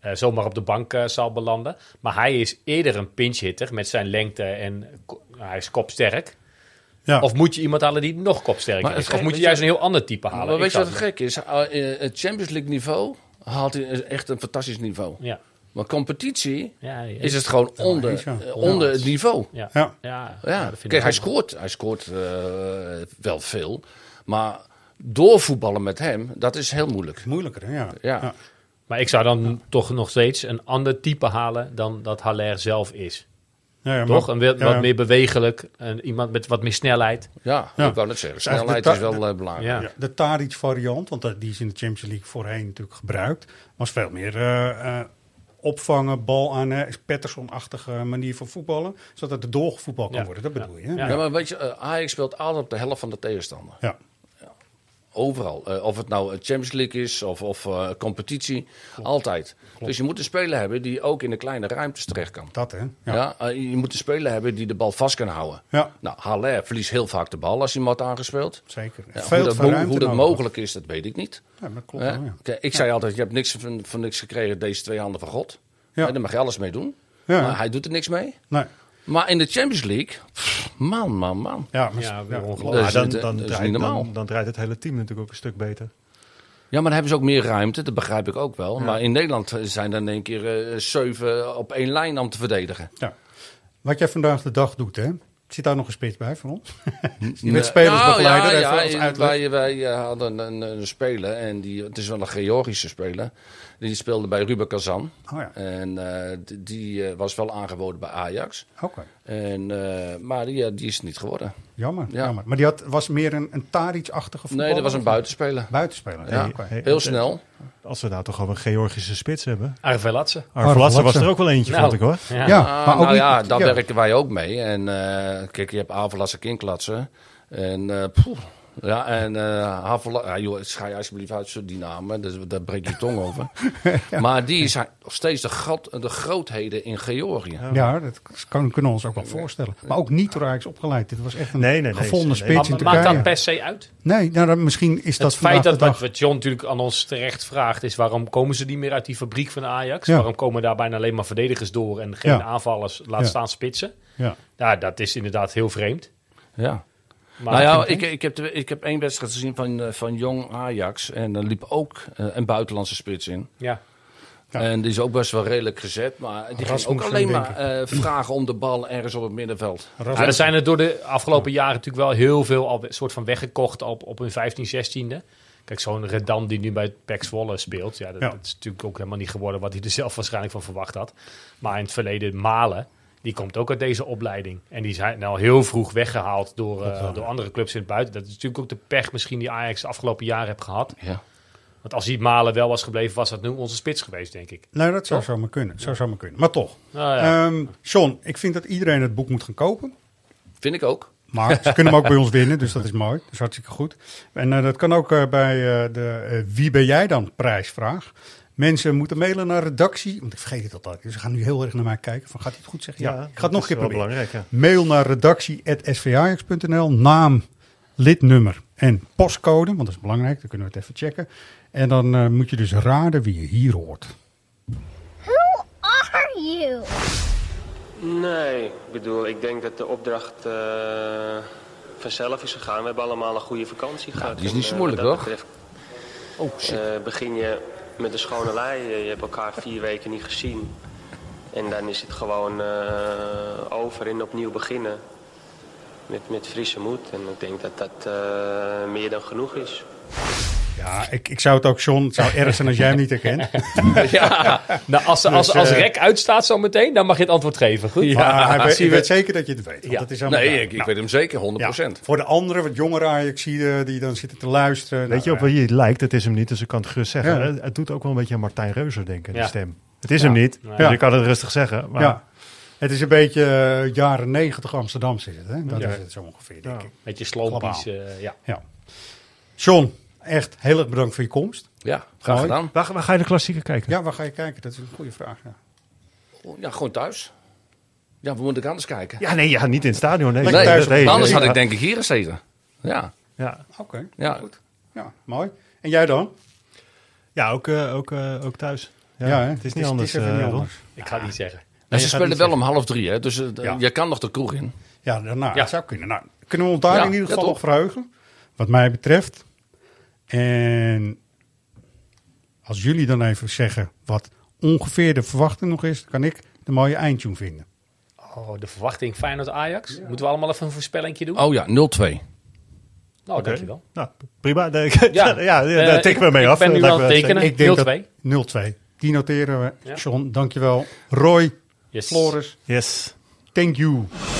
S2: eh, zomaar op de bank eh, zal belanden. Maar hij is eerder een pinch-hitter met zijn lengte en ko- nou, hij is kopsterk. Ja. Of moet je iemand halen die nog kopsterker
S4: Maar
S2: is?
S4: het
S2: Of
S4: gek-
S2: moet je
S4: weet
S2: juist
S4: je-
S2: een heel ander type halen?
S4: Maar
S2: Ik
S4: weet je
S2: zou
S4: wat
S2: het
S4: gek is? Ah, eh, Het Champions League niveau haalt hij eh, echt een fantastisch niveau.
S2: Ja.
S4: Maar competitie
S2: Ja, ja.
S4: is het gewoon
S2: Ja,
S4: onder,
S2: is zo.
S4: eh, onder het niveau.
S2: Ja. Ja. Ja, ja, dat vind ik
S4: Kijk, hij
S2: ook.
S4: scoort, hij scoort eh, wel veel. Maar doorvoetballen met hem, dat is heel moeilijk.
S1: Moeilijker, ja.
S4: ja.
S2: Maar ik zou dan toch nog steeds een ander type halen dan dat Haller zelf is.
S1: Ja, ja,
S2: toch?
S1: maar-
S2: een wel-
S1: ja,
S2: wat
S1: ja.
S2: meer bewegelijk, een, iemand met wat meer snelheid.
S4: Ja,
S1: Ja.
S4: ik wou net zeggen.
S1: Dus eigenlijk
S4: Snelheid
S1: de
S4: is
S1: ta-
S4: wel eh,
S1: de-
S4: belangrijk.
S1: Ja. De Tadic variant, want dat- die is in de Champions League voorheen natuurlijk gebruikt, was veel meer eh, eh, opvangen, bal aan eh Pettersson-achtige manier van voetballen, zodat het doorgevoetbal kan
S4: Ja.
S1: worden. Dat bedoel je. hè?
S4: Ja, maar weet je, eh, Ajax speelt altijd op de helft van de tegenstander.
S1: Ja.
S4: Overal. Eh, of het nou eh, Champions League is of, of eh, competitie. Altijd. Dus je moet een speler hebben die ook in de kleine ruimtes terecht kan.
S1: Dat hè?
S4: Ja. eh, je moet een speler hebben die de bal vast kan houden.
S1: Ja.
S4: Nou, Haller verliest heel vaak de bal als hij hem had aangespeeld.
S1: Zeker.
S4: Ja,
S1: Veel
S4: hoe dat,
S1: te
S4: hoe,
S1: ruimte
S4: hoe dat
S1: nodig.
S4: mogelijk is, dat weet ik niet.
S1: Ja, maar klopt
S4: Eh,
S1: wel, ja.
S4: kijk, Ik zei altijd, je hebt niks van, van niks gekregen, deze twee handen van God.
S1: Ja.
S4: Eh, daar mag je alles mee doen.
S1: Ja.
S4: Maar hij doet er niks mee.
S1: Nee.
S4: Maar in de Champions League, pff, man, man, man.
S1: Ja, maar- Ja, ja. ongelooflijk.
S4: Dat is,
S5: dan,
S4: dat-
S5: dan,
S4: dat eh, is
S5: draait,
S4: niet normaal.
S5: dan, dan draait het hele team natuurlijk ook een stuk beter.
S4: Ja, maar dan hebben ze ook meer ruimte, dat begrijp ik ook wel.
S5: Ja.
S4: Maar in Nederland zijn dan in één keer eh, zeven op één lijn om te verdedigen.
S1: Ja. Wat jij vandaag de dag doet, hè? Zit daar nog een spits bij van ons? Die
S4: Nee.
S1: met spelers begeleider,
S4: Nou,
S1: even
S4: ja,
S1: als
S4: ja,
S1: uitleg.
S4: wij, wij eh, hadden een, een speler, en die, het is wel een Georgische speler. Die speelde bij Ruben Kazan.
S1: Oh ja.
S4: En eh, d- die eh, was wel aangeboden bij Ajax.
S1: Oké.
S4: En, eh, maar die, eh, die is het niet geworden.
S1: Jammer,
S4: Ja.
S1: jammer. Maar die had, was meer een, een Tadic-achtige voetballer?
S4: Nee, dat was
S1: of-
S4: een buitenspeler.
S1: Buitenspeler,
S4: Ja,
S1: ja. oké.
S4: heel snel.
S5: Als we nou toch al een Georgische spits hebben.
S2: Arvelatse.
S5: Arvelatse was er ook wel eentje,
S4: Nou,
S5: vond ik hoor.
S4: Ja,
S2: Ah,
S5: maar ook
S4: nou
S5: niet-
S4: ja, daar
S5: ja.
S4: werken wij ook mee. En eh, kijk, je hebt Havelassen, Kinklatsen. En eh, poeh. ja, en eh Havela, ja, joh, schei alsjeblieft uit zo die namen. Dus, daar breek je tong over. Maar die zijn nog steeds de, gat, de grootheden in Georgië.
S1: Ja, dat kan, kunnen we ons ook wel voorstellen. Maar ook niet door Ajax opgeleid. Dit was echt een
S5: Nee, nee, nee.
S1: gevonden
S5: Nee.
S1: spits in
S2: Maar
S1: Turkije.
S2: maakt dat per se uit?
S1: Nee, nou, dan, misschien is dat
S2: het feit
S1: vandaag
S2: dat
S1: de dag.
S2: wat, wat John natuurlijk aan ons terecht vraagt is waarom komen ze niet meer uit die fabriek van Ajax?
S1: Ja.
S2: Waarom komen daar bijna alleen maar verdedigers door en geen
S1: Ja.
S2: aanvallers laat
S1: Ja.
S2: staan spitsen?
S1: Ja.
S2: Nou, dat is inderdaad heel vreemd.
S4: Ja.
S2: Maar
S4: nou ja, ik, ik, heb, de- ik heb één wedstrijd gezien van, eh, van jong Ajax. En daar liep ook eh, een buitenlandse spits in.
S2: Ja.
S4: En die is ook best wel redelijk gezet. Maar die ging ook
S2: Rasmussen,
S4: alleen
S2: denk
S4: maar eh, vragen om de bal ergens op het middenveld.
S2: Ja, Nou, er zijn er door de afgelopen jaren natuurlijk wel heel veel al soort van weggekocht op, op hun 15, 16e. Kijk, zo'n Redan die nu bij Pek Zwolle speelt. Ja dat,
S1: Ja.
S2: dat is natuurlijk ook helemaal niet geworden wat hij er zelf waarschijnlijk van verwacht had. Maar in het verleden Malen, die komt ook uit deze opleiding. En die zijn al heel vroeg weggehaald door, eh, door andere clubs in het buiten. Dat is natuurlijk ook de pech misschien die Ajax de afgelopen jaren heeft gehad.
S4: Ja.
S2: Want als die Malen wel was gebleven, was dat nu onze spits geweest, denk ik.
S1: Nee, Nou, dat zou
S2: Toch?
S1: zomaar kunnen. Zou zomaar kunnen. Maar toch.
S2: Nou ja.
S1: Ehm, John, ik vind dat iedereen het boek moet gaan kopen.
S4: Vind ik ook.
S1: Maar ze kunnen hem ook bij ons winnen, dus dat is mooi. Dat is hartstikke goed. En eh, dat kan ook eh, bij eh, de eh, Wie ben jij dan prijsvraag. Mensen moeten mailen naar redactie, want ik vergeet het altijd. Dus ze gaan nu heel erg naar mij kijken. Van, gaat hij het goed zeggen? Ja,
S5: Ja,
S1: ik ga
S5: dat
S1: het nog een
S5: is
S1: keer
S5: wel
S1: proberen.
S5: belangrijk, ja.
S1: Mail naar redactie.svajax.nl, naam, lidnummer en postcode, want dat is belangrijk. Dan kunnen we het even checken. En dan eh, moet je dus raden wie je hier hoort.
S15: Who are you?
S16: Nee, ik bedoel, ik denk dat de opdracht eh, vanzelf is gegaan. We hebben allemaal een goede vakantie gehad.
S4: die is
S16: En,
S4: niet zo
S16: eh,
S4: moeilijk,
S16: wat dat
S4: toch? Oh,
S16: betreft, eh, begin je met de schone lei. Je je hebt elkaar vier weken niet gezien. En dan is het gewoon eh, over en opnieuw beginnen. Met, met frisse moed. En ik denk dat dat eh, meer dan genoeg is.
S1: Ja, ik, ik zou het ook, John, het zou erg zijn als jij hem niet herkent.
S2: ja, nou, als,
S1: Dus,
S2: als, als
S1: eh,
S2: rek uitstaat zo meteen, dan mag je het antwoord geven. Goed?
S1: Maar hij weet,
S2: Zien
S1: ik
S2: we-
S1: weet zeker dat je het weet. want
S2: Ja.
S1: dat is helemaal
S2: Nee,
S1: duidelijk.
S4: ik weet hem zeker, 100%.
S1: Voor de anderen, wat jongere Ajaxiden die dan zitten te luisteren.
S5: Weet je op
S1: Nou,
S5: wie het lijkt? Het is hem niet, dus ik kan het gerust zeggen.
S1: Ja.
S5: Het, het doet ook wel een beetje aan Martijn Reuser denken,
S1: Ja.
S5: die stem. Het is
S1: Ja.
S5: hem niet,
S1: Nee.
S5: dus
S1: Ja.
S5: ik kan het rustig zeggen. Maar
S1: ja. Het is een beetje eh, jaren negentig Amsterdam zit het. Hè? Dat
S5: Ja.
S1: is het zo ongeveer, denk ik.
S2: Beetje sloopies,
S1: Globaal.
S2: eh, ja.
S1: ja. John, echt heel erg bedankt voor je komst.
S4: Ja,
S1: Mooi.
S4: graag gedaan.
S5: Waar, waar ga je de klassieker kijken?
S1: Ja, waar ga je kijken? Dat is een goede vraag. Ja.
S4: Ja, gewoon thuis. Ja, we moeten anders kijken.
S5: Ja, nee, ja, niet in het stadion. Nee,
S4: Nee,
S5: Maar
S4: dus anders had ik denk ik hier gezeten. Ja.
S5: Ja.
S1: Oké,
S4: Ja.
S1: goed. Ja, mooi. En jij dan?
S5: Ja, ook, eh, ook, eh, ook thuis. Ja,
S1: Ja, hè?
S5: het is
S1: Het
S5: niet
S1: is-
S5: anders.
S1: het is even
S5: eh,
S1: niet
S5: Ron.
S1: anders.
S2: Ik ga het niet zeggen.
S4: En
S5: Nee,
S4: ze
S5: je gaat
S4: spelen
S5: niet
S4: wel om half drie, hè? dus eh, d- je kan nog de kroeg in.
S1: Ja, nou,
S2: Ja.
S1: dat zou kunnen. Nou, kunnen we ons daar
S2: Ja,
S1: in ieder
S2: ja,
S1: geval
S2: toch?
S1: op verheugen, wat mij betreft. En als jullie dan even zeggen wat ongeveer de verwachting nog is, dan kan ik de mooie eindtune vinden.
S2: Oh, de verwachting Feyenoord-Ajax. Moeten we allemaal even een voorspellingje doen?
S4: Oh ja, 0-2.
S2: Nou,
S5: Oké.
S2: dankjewel.
S5: Nou, prima. Ja, ja,
S2: eh,
S5: daar tikken we
S2: ik-
S5: mee
S2: ik
S5: af.
S2: ben nu
S5: Lijkt
S2: aan
S5: me
S2: het
S5: wel zeker.
S2: tekenen.
S1: Ik denk
S2: 0-2.
S1: dat 0-2. Die noteren we. John, dankjewel. Roy,
S2: Yes.
S1: Floris,
S5: yes.
S1: thank you.